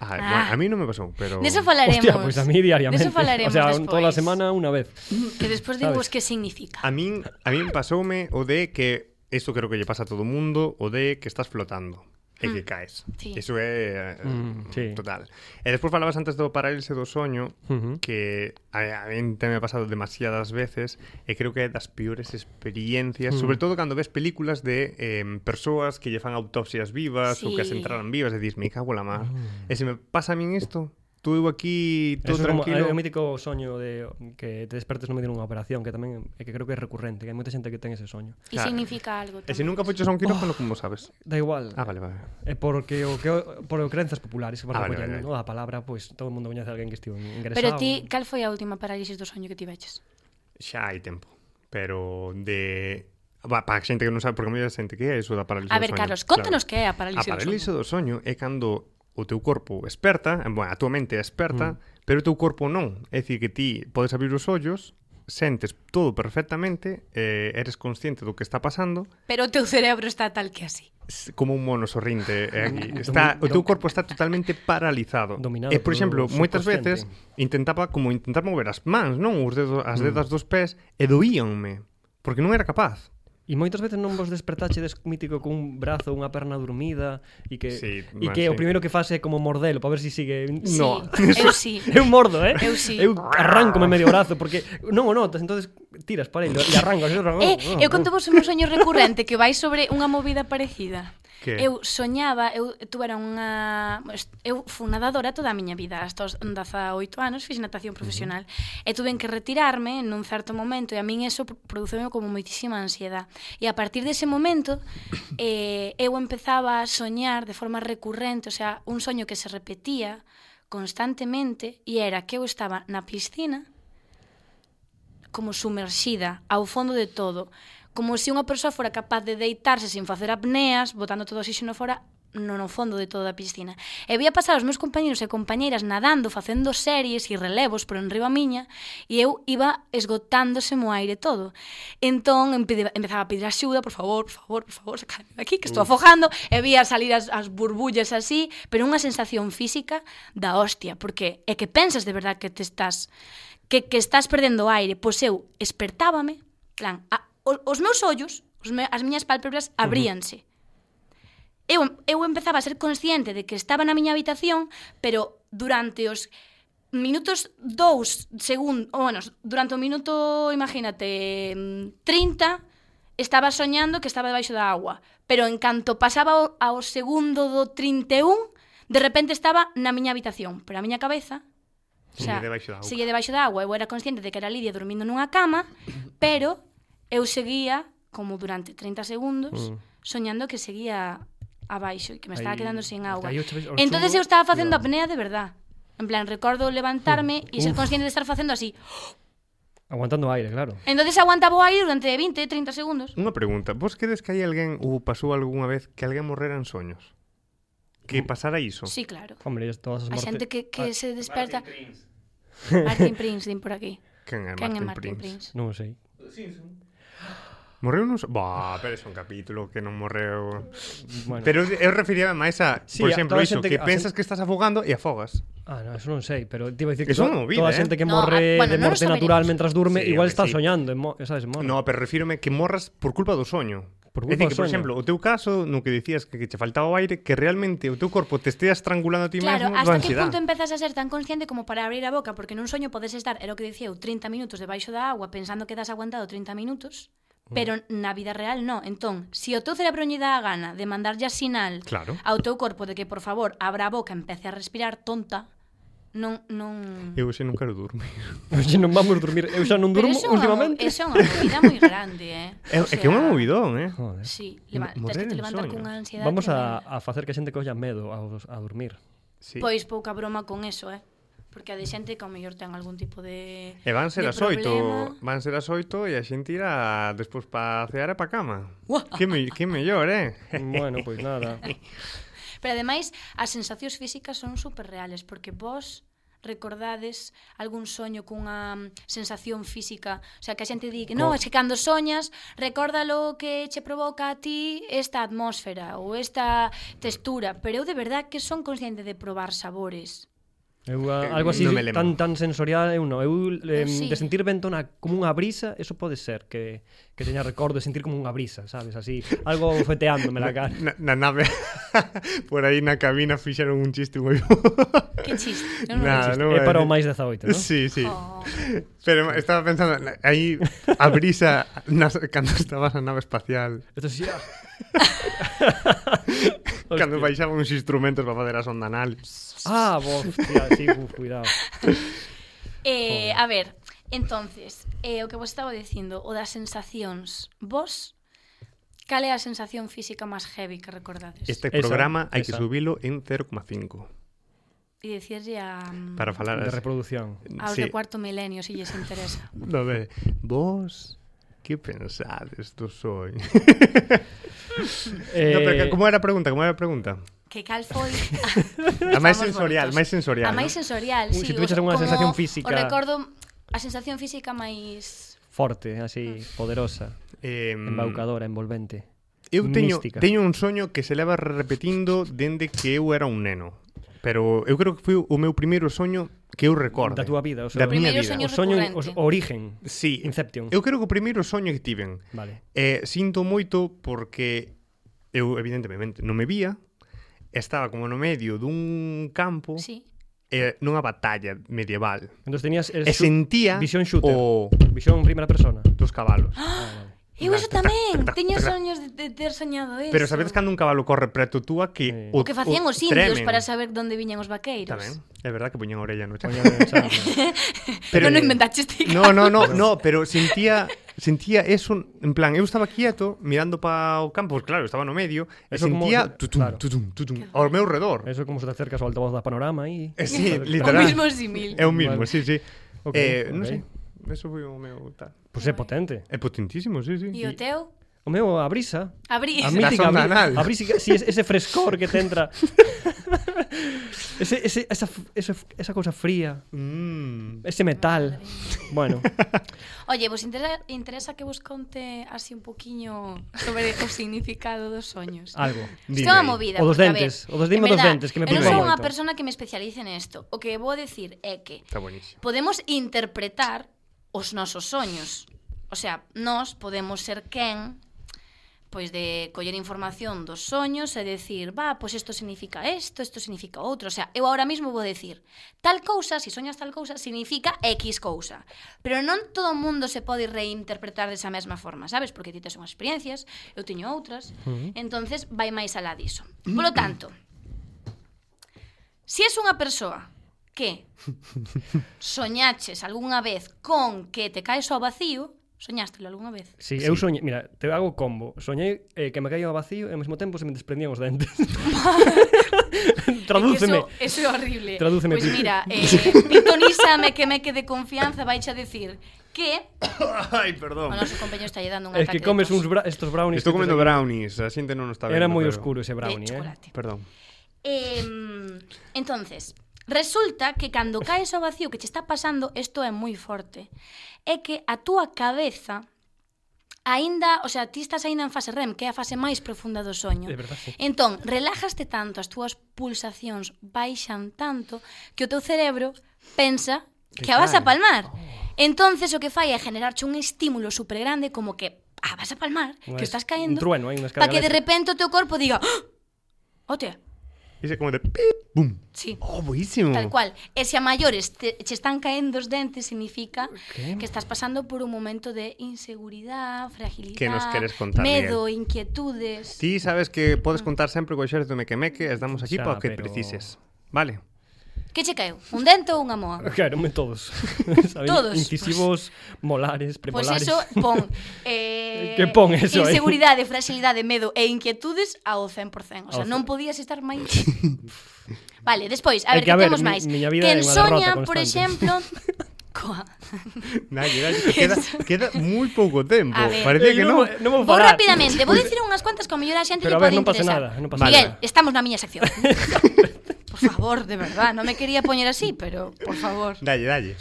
[SPEAKER 1] Ah,
[SPEAKER 2] Ah.
[SPEAKER 1] Bueno, a mí non me pasou, pero...
[SPEAKER 2] Deso falaremos.
[SPEAKER 3] Hostia, pois a mí diariamente.
[SPEAKER 2] Deso falaremos
[SPEAKER 3] o sea,
[SPEAKER 2] despois.
[SPEAKER 3] toda a semana unha vez.
[SPEAKER 2] Que despois digo
[SPEAKER 3] sabes?
[SPEAKER 2] que significa.
[SPEAKER 1] A min, a min pasoume o de que eso creo que lle pasa a todo o mundo, o de que estás flotando e que caes.
[SPEAKER 2] Mm. Sí.
[SPEAKER 1] Eso é eh,
[SPEAKER 3] Mm, sí.
[SPEAKER 1] total. E despois falabas antes do parálise do soño,
[SPEAKER 3] Ujú.
[SPEAKER 1] que a, a min te me ha pasado demasiadas veces e creo que é das peores
[SPEAKER 3] Mm.
[SPEAKER 1] experiencias, sobre todo cando ves películas de eh, persoas que lle fan autopsias vivas ou que as
[SPEAKER 2] Sí.
[SPEAKER 1] entraran vivas e dis, me cago en la mar. E se me pasa a min isto, tú aquí todo
[SPEAKER 3] Ah. Eso é como, eh,
[SPEAKER 1] tranquilo.
[SPEAKER 3] é o mítico soño de que te despertes no medio dunha operación, que tamén é que creo que é recurrente, que hai moita xente que ten ese soño.
[SPEAKER 2] E
[SPEAKER 1] Claro.
[SPEAKER 2] significa algo.
[SPEAKER 1] E
[SPEAKER 2] tamén.
[SPEAKER 1] se nunca foches a un
[SPEAKER 3] Oh.
[SPEAKER 1] quirófano, como sabes?
[SPEAKER 3] Da igual.
[SPEAKER 1] Ah, vale, vale.
[SPEAKER 3] É Eh, porque o que o- por o crenzas populares que van
[SPEAKER 1] Ah, vale,
[SPEAKER 3] recollendo,
[SPEAKER 1] vale,
[SPEAKER 3] ¿no? a palabra, pois pues, todo o mundo coñece a alguén que estivo ingresado.
[SPEAKER 2] Pero ti, cal foi a última parálisis do soño que ti veches?
[SPEAKER 1] Xa hai tempo, pero de Va, para a xente que non sabe, porque a mellor a xente que é iso da parálise
[SPEAKER 2] A
[SPEAKER 1] do
[SPEAKER 2] ver,
[SPEAKER 1] soño.
[SPEAKER 2] Carlos, contanos que é
[SPEAKER 1] A
[SPEAKER 2] a parálisis do
[SPEAKER 1] parálise
[SPEAKER 2] soño.
[SPEAKER 1] do soño é cando o teu corpo experta, eh, bueno, a tua mente é experta, mm. pero o teu corpo non. É dicir, que ti podes abrir os ollos, sentes todo perfectamente, eh, eres consciente do que está pasando,
[SPEAKER 2] Pero o teu cerebro está tal que así.
[SPEAKER 1] s- como un mono sorrinte eh, aquí. Está, o teu corpo está totalmente paralizado.
[SPEAKER 3] Dominado
[SPEAKER 1] e, por
[SPEAKER 3] polo
[SPEAKER 1] exemplo, moitas veces
[SPEAKER 3] subconsciente.
[SPEAKER 1] intentaba como
[SPEAKER 3] Mm.
[SPEAKER 1] intentar mover as mans, non? Os dedos, as dedas dos pés, e doíanme, porque non era capaz.
[SPEAKER 3] E moitas veces non vos despertáchedes mítico cun brazo, unha perna dormida e que
[SPEAKER 1] Sí,
[SPEAKER 3] e
[SPEAKER 1] man,
[SPEAKER 3] que
[SPEAKER 1] sí.
[SPEAKER 3] o primeiro que fase é como mordelo para ver se si sigue.
[SPEAKER 2] Sí,
[SPEAKER 1] No.
[SPEAKER 2] eu sí.
[SPEAKER 3] Eu mordo, eh?
[SPEAKER 2] Eu sí.
[SPEAKER 3] Eu arrancome medio brazo porque non o notas, entonces tiras para ele e arrancas. e arrancas.
[SPEAKER 2] Eh, eu conto vos un soño recurrente que vai sobre unha movida parecida.
[SPEAKER 1] Que?
[SPEAKER 2] Eu soñaba, eu tuvera unha... Eu fui nadadora toda a miña vida, hasta os 18 anos fiz natación profesional. E tuven que retirarme nun certo momento e a min eso produceu como moitísima ansiedad. E a partir dese momento eh, eu empezaba a soñar de forma recurrente, o sea, un soño que se repetía constantemente e era que eu estaba na piscina como sumerxida ao fondo de todo, como se unha persoa fora capaz de deitarse sin facer apneas, botando todo o oxígeno fora no, no fondo de toda a piscina. E vía pasar os meus compañeros e compañeiras nadando, facendo series e relevos por enriba miña, e eu iba esgotándose mo aire todo. Entón, empede- empezaba a pedir axuda, por favor, por favor, por favor, sacadme de aquí, que estou afogando, e vía salir as, as burbullas así, pero unha sensación física da hostia, porque é que pensas de verdad que te estás que, que estás perdendo o aire, pois eu espertábame, plan, a, os, os meus ollos, os me, as miñas pálpebras abríanse. Eu, eu empezaba a ser consciente de que estaba na miña habitación, pero durante os minutos 2 segundos, bueno, durante o minuto, imagínate, mm, 30, estaba soñando que estaba debaixo da agua, pero en canto pasaba ao, ao segundo do 31, de repente estaba na miña habitación, pero a miña cabeza
[SPEAKER 1] Sigue debaixo da auga.
[SPEAKER 2] Sigue debaixo da agua. Eu era consciente de que era Lidia dormindo nunha cama, pero eu seguía, como durante 30 segundos,
[SPEAKER 3] Mm.
[SPEAKER 2] soñando que seguía abaixo e que me estaba
[SPEAKER 3] Aí-
[SPEAKER 2] quedando sin auga.
[SPEAKER 3] aí outra vez ao
[SPEAKER 2] Entonces
[SPEAKER 3] chungo,
[SPEAKER 2] eu estaba facendo
[SPEAKER 3] cuidado.
[SPEAKER 2] apnea de verdad. En plan, recordo levantarme
[SPEAKER 3] Mm.
[SPEAKER 2] e ser consciente de estar facendo así.
[SPEAKER 3] Aguantando aire, claro.
[SPEAKER 2] Entonces aguantaba o aire durante 20, 30 segundos.
[SPEAKER 1] Unha pregunta, vos credes que hai alguén ou pasou algunha vez que alguén morrera en soños? Que
[SPEAKER 3] Mm.
[SPEAKER 1] pasara iso?
[SPEAKER 2] Sí, claro.
[SPEAKER 3] Hombre, es todas as
[SPEAKER 2] A
[SPEAKER 3] mortes.
[SPEAKER 2] xente que, que se desperta... Martin Prince, din por aquí.
[SPEAKER 1] Quen é
[SPEAKER 2] Quen é
[SPEAKER 1] Martin,
[SPEAKER 2] Martin
[SPEAKER 1] Prince?
[SPEAKER 2] Prince?
[SPEAKER 3] Non o sei.
[SPEAKER 1] Morreu nos... Bah, pero é un capítulo que non morreu...
[SPEAKER 3] Bueno.
[SPEAKER 1] Pero eu refería máis a,
[SPEAKER 3] Sí,
[SPEAKER 1] por
[SPEAKER 3] a
[SPEAKER 1] exemplo,
[SPEAKER 3] toda a
[SPEAKER 1] iso,
[SPEAKER 3] xente
[SPEAKER 1] que
[SPEAKER 3] que- a
[SPEAKER 1] pensas que estás afogando e afogas.
[SPEAKER 3] Ah, no, eso non sei, pero te iba a dicir
[SPEAKER 1] Eso é
[SPEAKER 3] to-
[SPEAKER 1] unha movida,
[SPEAKER 3] toda
[SPEAKER 1] eh?
[SPEAKER 3] a xente que
[SPEAKER 2] No,
[SPEAKER 3] morre
[SPEAKER 2] ah, bueno,
[SPEAKER 3] de
[SPEAKER 2] non lo
[SPEAKER 3] morte natural
[SPEAKER 2] saberemos.
[SPEAKER 3] mentras durme,
[SPEAKER 1] Sí, hombre,
[SPEAKER 3] igual está
[SPEAKER 1] sí.
[SPEAKER 3] soñando, en mo- sabes, en mono.
[SPEAKER 1] No, pero refírome que morras por culpa do soño.
[SPEAKER 3] Por
[SPEAKER 1] é dicir,
[SPEAKER 3] culpa do
[SPEAKER 1] que, por
[SPEAKER 3] soño.
[SPEAKER 1] exemplo, o teu caso, no que dicías que, que te faltaba o aire, que realmente o teu corpo te estea estrangulando a ti
[SPEAKER 2] Claro,
[SPEAKER 1] mesmo do
[SPEAKER 2] hasta que
[SPEAKER 1] ansiedade.
[SPEAKER 2] punto empezas a ser tan consciente como para abrir a boca, porque nun soño podes estar, era o que dicía eu, 30 minutos debaixo da agua pensando que das aguantado 30 minutos,
[SPEAKER 1] Mm.
[SPEAKER 2] pero na vida real no. Entón, se o teu cerebro lle dá a gana de mandarlle a sinal
[SPEAKER 1] Claro.
[SPEAKER 2] ao teu corpo de que, por favor, abra a boca, empece a respirar tonta, non... non...
[SPEAKER 1] Eu xe non quero dormir.
[SPEAKER 3] Oxe, non vamos dormir. Eu xa non
[SPEAKER 2] Pero
[SPEAKER 3] durmo
[SPEAKER 2] eso é unha-
[SPEAKER 3] últimamente.
[SPEAKER 2] Eso é unha movida moi grande, eh?
[SPEAKER 1] É, é que é un movidón, eh?
[SPEAKER 3] Joder.
[SPEAKER 2] Sí, leva,
[SPEAKER 1] Mo-
[SPEAKER 2] tens que te
[SPEAKER 1] morrer en
[SPEAKER 2] levantar
[SPEAKER 1] soños.
[SPEAKER 2] cunha ansiedade
[SPEAKER 3] Vamos a,
[SPEAKER 2] tremenda.
[SPEAKER 3] a facer que a xente colla medo a, a dormir.
[SPEAKER 1] Sí.
[SPEAKER 2] Pois pouca broma con eso, eh? Porque a de xente que ao mellor ten algún tipo de
[SPEAKER 1] E van ser
[SPEAKER 2] de
[SPEAKER 1] as oito, van
[SPEAKER 2] problema.
[SPEAKER 1] ser as oito e a xente irá despois pa cear e pa cama. que, me, que mellor, eh?
[SPEAKER 3] Bueno, pois nada.
[SPEAKER 2] Pero ademais, as sensacións físicas son super reales, porque vos recordades algún soño cunha mm, sensación física, o sea, que a xente di que non, é
[SPEAKER 3] Co-
[SPEAKER 2] que cando soñas, recórdalo que che provoca a ti esta atmósfera ou esta textura, pero eu de verdad que son consciente de probar sabores.
[SPEAKER 3] Eu, a, algo así
[SPEAKER 1] Non me lembro.
[SPEAKER 3] tan tan sensorial eu non. Eu
[SPEAKER 2] Eu
[SPEAKER 3] eh,
[SPEAKER 2] sí.
[SPEAKER 3] de sentir vento na, como unha brisa, eso pode ser que que teña recordo de sentir como unha brisa, sabes, así, algo feteándome la cara.
[SPEAKER 1] Na, na nave, por aí na cabina fixeron un chiste moi bo.
[SPEAKER 2] Que chiste, non
[SPEAKER 1] Nah,
[SPEAKER 2] nah,
[SPEAKER 1] non
[SPEAKER 3] É
[SPEAKER 1] vou
[SPEAKER 3] para o
[SPEAKER 1] decir.
[SPEAKER 3] máis 18, non?
[SPEAKER 1] Ah, Sí, sí.
[SPEAKER 2] Oh,
[SPEAKER 1] Pero estaba pensando, na- aí a brisa nas, cando estabas na nave espacial,
[SPEAKER 3] Esto sí. ah.
[SPEAKER 1] cando baixaban uns instrumentos para fazer a sonda anal.
[SPEAKER 3] Ah, bo, hostia, sí, uf, cuidado.
[SPEAKER 2] Eh, a ver, entonces, eh, o que vos estaba dicindo, o das sensacións, vos, cal é a sensación física máis heavy que recordades?
[SPEAKER 1] Este
[SPEAKER 3] Esa,
[SPEAKER 1] programa hai que
[SPEAKER 3] esa.
[SPEAKER 1] subilo en 0,5
[SPEAKER 2] E dicirlle a, mm,
[SPEAKER 1] para falar
[SPEAKER 3] De
[SPEAKER 1] así.
[SPEAKER 3] reproducción.
[SPEAKER 2] aos
[SPEAKER 1] Sí.
[SPEAKER 2] de cuarto milenio, se lles interesa.
[SPEAKER 1] No, ve, vos que pensades do soño?
[SPEAKER 3] Eh,
[SPEAKER 1] No, pero que- como era a pregunta? Como era a pregunta?
[SPEAKER 2] Que cal foi...
[SPEAKER 1] A máis
[SPEAKER 2] Estamos
[SPEAKER 1] sensorial,
[SPEAKER 2] bonitos.
[SPEAKER 1] máis sensorial.
[SPEAKER 2] a máis
[SPEAKER 1] ¿no?
[SPEAKER 2] sensorial,
[SPEAKER 3] Ui,
[SPEAKER 2] sí.
[SPEAKER 3] si tú
[SPEAKER 2] o-
[SPEAKER 3] echas unha
[SPEAKER 2] como O
[SPEAKER 3] sensación física.
[SPEAKER 2] recordo, a sensación física máis...
[SPEAKER 3] Forte, así, poderosa,
[SPEAKER 1] Eh,
[SPEAKER 3] embaucadora, envolvente.
[SPEAKER 1] eu teño,
[SPEAKER 3] mística.
[SPEAKER 1] teño un soño que se leva repetindo dende que eu era un neno. Pero eu creo que foi o meu primeiro soño que eu recorde.
[SPEAKER 3] Da túa vida, o seu-
[SPEAKER 1] da miña
[SPEAKER 2] Primeiro
[SPEAKER 1] vida.
[SPEAKER 2] soño-
[SPEAKER 3] O soño, o,
[SPEAKER 2] recurrente.
[SPEAKER 3] o origen.
[SPEAKER 1] Sí,
[SPEAKER 3] Inception.
[SPEAKER 1] eu creo que o primeiro soño que tiven.
[SPEAKER 3] Vale.
[SPEAKER 1] Eh, sinto moito porque eu evidentemente non me vía, estaba como no medio dun campo,
[SPEAKER 2] Sí.
[SPEAKER 1] eh, nunha batalla medieval.
[SPEAKER 3] Entón tenías el
[SPEAKER 1] E
[SPEAKER 3] shoot-
[SPEAKER 1] sentía
[SPEAKER 3] visión shooter.
[SPEAKER 1] o
[SPEAKER 3] visión primeira persona. Ah,
[SPEAKER 1] dos cabalos.
[SPEAKER 2] Ah, Eu iso tamén, teño soños de, de ter soñado eso.
[SPEAKER 1] Pero sabedes cando un cabalo corre preto túa que
[SPEAKER 3] Sí.
[SPEAKER 2] O que facían os
[SPEAKER 1] tremen.
[SPEAKER 2] indios para saber onde viñan os vaqueiros.
[SPEAKER 1] Tamén, é verdad que poñían a orella no chan.
[SPEAKER 3] Coño, no, xa,
[SPEAKER 1] Pero-
[SPEAKER 2] Pero non inventaches ti.
[SPEAKER 1] No, no, no, no, pero sentía sentía eso, en plan, eu estaba quieto mirando para o campo, pues claro, estaba no medio, e
[SPEAKER 3] Eso como-
[SPEAKER 1] sentía tutum,
[SPEAKER 3] claro.
[SPEAKER 1] tutum, tutum, ao meu redor.
[SPEAKER 3] Eso como se te acercas ao altavoz da panorama aí.
[SPEAKER 1] Eh, sí,
[SPEAKER 2] O
[SPEAKER 1] literal.
[SPEAKER 2] mismo símil.
[SPEAKER 1] É o mismo,
[SPEAKER 3] Vale.
[SPEAKER 1] sí, sí.
[SPEAKER 3] Ok,
[SPEAKER 1] eh,
[SPEAKER 3] ok.
[SPEAKER 1] non sei. Eso foi o meu tal.
[SPEAKER 3] Pois é Pues potente.
[SPEAKER 1] É potentísimo, sí, sí.
[SPEAKER 2] E o teu?
[SPEAKER 3] O meu, a brisa.
[SPEAKER 2] Abrí.
[SPEAKER 3] A
[SPEAKER 1] mí-
[SPEAKER 3] mítica
[SPEAKER 1] sonda
[SPEAKER 3] bri-
[SPEAKER 1] anal.
[SPEAKER 3] a brisa, si, ese frescor que te entra. ese, ese, esa, f- ese, f- esa cosa fría.
[SPEAKER 1] Mm.
[SPEAKER 3] Ese metal. Bueno,
[SPEAKER 2] Oye, vos interesa, interesa que vos conte así un poquinho sobre o significado dos soños.
[SPEAKER 3] algo.
[SPEAKER 2] Isto é
[SPEAKER 1] Dime.
[SPEAKER 2] unha movida.
[SPEAKER 3] Ah, O dos
[SPEAKER 2] porque, a
[SPEAKER 3] dentes,
[SPEAKER 2] ver,
[SPEAKER 3] o dos- dime
[SPEAKER 2] en
[SPEAKER 3] dos
[SPEAKER 2] verdad,
[SPEAKER 3] dentes, que me
[SPEAKER 2] eu non
[SPEAKER 1] preocupa
[SPEAKER 2] sou unha
[SPEAKER 3] moito.
[SPEAKER 2] persona que me especialice nesto. O que vou dicir é que
[SPEAKER 1] Está buenísimo.
[SPEAKER 2] podemos interpretar os nosos soños. O sea, nós podemos ser quen pois de coller información dos soños e decir, va, pois isto significa isto, isto significa outro. O sea, eu ahora mismo vou decir, tal cousa, si soñas tal cousa, significa X cousa. Pero non todo o mundo se pode reinterpretar desa mesma forma, sabes? Porque ti tes unhas experiencias, eu teño outras,
[SPEAKER 3] Ujú.
[SPEAKER 2] entonces vai máis alá diso. Polo tanto, Si es unha persoa que soñaches algunha vez con que te caes ao vacío, soñástelo algunha vez.
[SPEAKER 3] Si, eu soñei, mira, te hago combo. Soñei eh, que me caía ao vacío e ao mesmo tempo se me desprendían os dentes.
[SPEAKER 2] É
[SPEAKER 3] Tradúceme.
[SPEAKER 2] que Eso, eso é horrible.
[SPEAKER 3] Tradúceme,
[SPEAKER 2] Pois
[SPEAKER 3] Pi.
[SPEAKER 2] mira, eh, pitonísame que me quede confianza, vais a decir que
[SPEAKER 1] Ai,
[SPEAKER 2] o
[SPEAKER 1] perdón.
[SPEAKER 2] noso compañero está lle dando un
[SPEAKER 3] Es
[SPEAKER 2] ataque.
[SPEAKER 3] que comes
[SPEAKER 2] de
[SPEAKER 3] uns bra estos brownies.
[SPEAKER 1] Estou
[SPEAKER 3] que te
[SPEAKER 1] comendo
[SPEAKER 3] sacan.
[SPEAKER 1] brownies, a xente non o está vendo.
[SPEAKER 3] Era moi
[SPEAKER 1] pero-
[SPEAKER 3] oscuro ese brownie, eh.
[SPEAKER 2] chocolate.
[SPEAKER 1] Perdón.
[SPEAKER 2] Eh, entonces, resulta que cando caes ao vacío que che está pasando, isto é moi forte. É que a túa cabeza aínda, o sea, ti estás aínda en fase REM, que é a fase máis profunda do soño.
[SPEAKER 3] É verdade, sí.
[SPEAKER 2] Entón, relájaste tanto, as túas pulsacións baixan tanto que o teu cerebro pensa que a vas a
[SPEAKER 1] cae.
[SPEAKER 2] palmar. Entonces o que fai é generarche un estímulo supergrande como que ah, vas a palmar,
[SPEAKER 3] Unha
[SPEAKER 2] que
[SPEAKER 3] es-
[SPEAKER 2] estás caendo,
[SPEAKER 3] un trueno, hai unha
[SPEAKER 2] para que de
[SPEAKER 3] descarga
[SPEAKER 2] repente o teu corpo diga ¡Ah! Ote,
[SPEAKER 1] Dice como de pip, bum.
[SPEAKER 2] sí.
[SPEAKER 1] Oh, buenísimo.
[SPEAKER 3] Mm.
[SPEAKER 2] Tal cual. E se a maiores te, che están caendo os dentes significa
[SPEAKER 3] Que?
[SPEAKER 2] que estás pasando por un momento de inseguridad, fragilidade,
[SPEAKER 1] Que nos queres contar,
[SPEAKER 2] medo, inquietudes.
[SPEAKER 1] Ti sabes que podes
[SPEAKER 2] Ah.
[SPEAKER 1] contar sempre co exército mequemeque, estamos aquí
[SPEAKER 3] Xa,
[SPEAKER 1] para o que
[SPEAKER 3] pero-
[SPEAKER 1] precises. Vale.
[SPEAKER 2] Que che caeu? Un dente ou unha moa?
[SPEAKER 3] Caeronme todos. ¿sabes?
[SPEAKER 2] Todos,
[SPEAKER 3] Incisivos, molares,
[SPEAKER 2] Pois
[SPEAKER 3] premolares.
[SPEAKER 2] eso, pon eh,
[SPEAKER 3] Que pon eso aí?
[SPEAKER 2] Inseguridade, fragilidade, medo e inquietudes ao 100%. O sea,
[SPEAKER 3] Ao
[SPEAKER 2] non
[SPEAKER 3] ce-
[SPEAKER 2] podías estar máis... Vale, despois, a ver,
[SPEAKER 3] É que,
[SPEAKER 2] que,
[SPEAKER 3] a ver,
[SPEAKER 2] temos
[SPEAKER 3] mi-
[SPEAKER 2] máis.
[SPEAKER 3] miña vida é
[SPEAKER 2] Quen
[SPEAKER 3] unha
[SPEAKER 2] soña,
[SPEAKER 3] derrota
[SPEAKER 2] por
[SPEAKER 3] constante.
[SPEAKER 2] exemplo... Coa.
[SPEAKER 1] Nalle, nalle, que queda, queda moi pouco tempo.
[SPEAKER 2] A ver.
[SPEAKER 1] Parece que non.
[SPEAKER 3] non vou
[SPEAKER 2] Vou
[SPEAKER 3] parar.
[SPEAKER 2] rapidamente, vou dicir unhas cuantas como mellor a xente
[SPEAKER 3] Pero
[SPEAKER 2] lle
[SPEAKER 3] a ver,
[SPEAKER 2] pode
[SPEAKER 3] non pasa
[SPEAKER 2] interesar.
[SPEAKER 3] nada, non pasa
[SPEAKER 2] Miguel,
[SPEAKER 3] nada.
[SPEAKER 2] estamos na miña sección. por favor, de verdad, non me quería poñer así, pero por favor.
[SPEAKER 1] Dalle, dalle.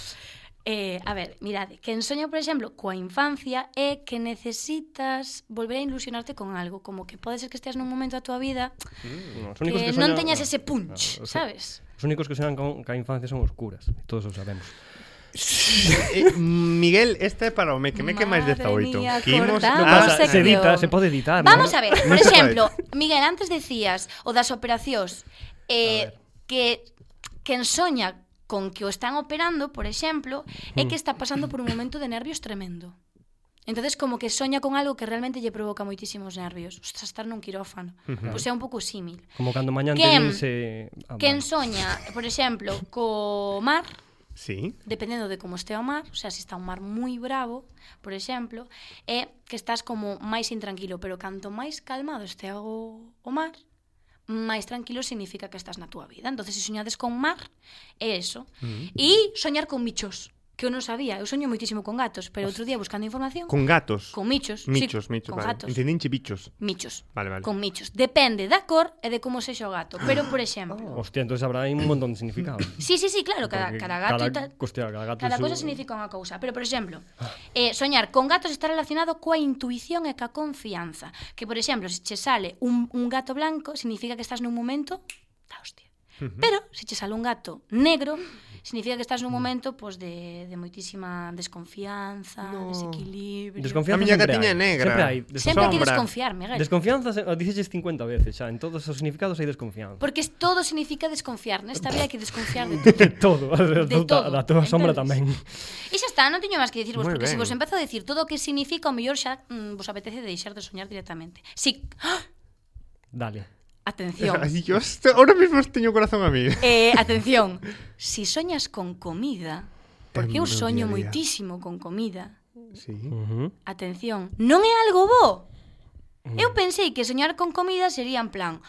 [SPEAKER 2] Eh, a ver, mirade, que ensoño, por exemplo, coa infancia é que necesitas volver a ilusionarte con algo, como que pode ser que esteas nun momento da túa vida
[SPEAKER 3] Os únicos
[SPEAKER 2] que,
[SPEAKER 3] que
[SPEAKER 2] non
[SPEAKER 3] soñan-
[SPEAKER 2] teñas ese punch,
[SPEAKER 3] Ah, o sea,
[SPEAKER 2] sabes?
[SPEAKER 3] Os únicos que soñan con ca infancia son oscuras. Todos o sabemos.
[SPEAKER 1] Eh, Miguel, esta é para o mequemeque máis
[SPEAKER 2] Madre
[SPEAKER 1] 18.
[SPEAKER 2] mía,
[SPEAKER 1] Que imos a-
[SPEAKER 2] cortamos Ah,
[SPEAKER 3] Pasa,
[SPEAKER 2] sección.
[SPEAKER 3] se edita, se pode editar.
[SPEAKER 2] Vamos
[SPEAKER 3] Ah, ¿no?
[SPEAKER 2] a ver,
[SPEAKER 1] Non
[SPEAKER 2] por
[SPEAKER 1] se
[SPEAKER 2] exemplo, Miguel, antes decías o das operacións
[SPEAKER 3] A
[SPEAKER 2] eh,
[SPEAKER 3] ver.
[SPEAKER 2] que quen soña con que o están operando, por exemplo, é
[SPEAKER 3] Hmm.
[SPEAKER 2] que está pasando por un momento de nervios tremendo. Entonces como que soña con algo que realmente lle provoca moitísimos nervios. Ostras, estar nun quirófano. Pois é un pouco símil.
[SPEAKER 3] Como cando mañan
[SPEAKER 2] Quen-
[SPEAKER 3] teñen se... Hmm. Ah,
[SPEAKER 2] Quen
[SPEAKER 3] vale.
[SPEAKER 2] soña, por exemplo, co mar,
[SPEAKER 1] Sí.
[SPEAKER 2] dependendo de como estea o mar, o sea, se está un mar moi bravo, por exemplo, é que estás como máis intranquilo, pero canto máis calmado estea o, o mar, máis tranquilo significa que estás na túa vida. Entonces, se soñades con mar, é eso.
[SPEAKER 1] Mm.
[SPEAKER 2] E soñar con michos, que eu non sabía. Eu soño moitísimo con gatos, pero outro día buscando información,
[SPEAKER 1] Con
[SPEAKER 2] con,
[SPEAKER 1] gatos.
[SPEAKER 2] con michos.
[SPEAKER 1] michos,
[SPEAKER 2] sí,
[SPEAKER 1] michos,
[SPEAKER 2] con
[SPEAKER 1] vale.
[SPEAKER 2] gatos.
[SPEAKER 1] Entendinche bichos.
[SPEAKER 2] Michos.
[SPEAKER 1] Vale, vale.
[SPEAKER 2] Con michos. Depende da cor e de como sexa o gato. Pero, por exemplo...
[SPEAKER 3] Hostia, entonces habrá aí un montón de significados.
[SPEAKER 1] Oh.
[SPEAKER 2] Sí, sí, sí, claro, cada,
[SPEAKER 3] Porque
[SPEAKER 2] cada gato e tal...
[SPEAKER 3] Hostia, cada gato
[SPEAKER 2] Cada
[SPEAKER 3] su-
[SPEAKER 1] eh,
[SPEAKER 2] cousa significa unha cousa, pero por exemplo,
[SPEAKER 1] Ah.
[SPEAKER 2] eh, soñar con gatos está relacionado coa intuición e ca confianza, que por exemplo, se che sale un, un gato blanco, significa que estás nun momento da hostia. Pero se che sale un gato negro, significa que estás
[SPEAKER 1] Mm.
[SPEAKER 2] nun momento pois de, de moitísima desconfianza,
[SPEAKER 1] No.
[SPEAKER 2] desequilibrio.
[SPEAKER 1] A
[SPEAKER 3] Desconfianza
[SPEAKER 1] miña
[SPEAKER 3] sempre
[SPEAKER 1] gatiña
[SPEAKER 3] hai.
[SPEAKER 1] negra.
[SPEAKER 3] Sempre hai. Des-
[SPEAKER 2] Sempre hai que
[SPEAKER 1] Sombra.
[SPEAKER 2] desconfiar, Miguel.
[SPEAKER 3] Desconfianza, se- o dices 50 veces xa, en todos os significados hai desconfianza.
[SPEAKER 2] Porque es- todo significa desconfiar, nesta vida hai que desconfiar de todo.
[SPEAKER 3] De todo, de
[SPEAKER 2] De todo,
[SPEAKER 3] da tua sombra tamén.
[SPEAKER 2] entendes? E xa está, non teño máis que dicirvos,
[SPEAKER 1] Moi
[SPEAKER 2] porque se
[SPEAKER 1] ben.
[SPEAKER 2] vos empezo a dicir todo o que significa, o mellor xa mm, vos apetece deixar de soñar directamente. Si, ¡Ah!
[SPEAKER 3] Dale.
[SPEAKER 2] atención,
[SPEAKER 1] Ay, yo est- ahora mismo teño o corazón a mí.
[SPEAKER 2] eh, atención, si soñas con comida, porque
[SPEAKER 1] Em,
[SPEAKER 2] eu soño
[SPEAKER 1] mediodía.
[SPEAKER 2] moitísimo con comida,
[SPEAKER 1] Sí.
[SPEAKER 3] Uh -huh.
[SPEAKER 2] atención, non é algo bo.
[SPEAKER 1] Mm.
[SPEAKER 2] Eu pensei que soñar con comida sería en plan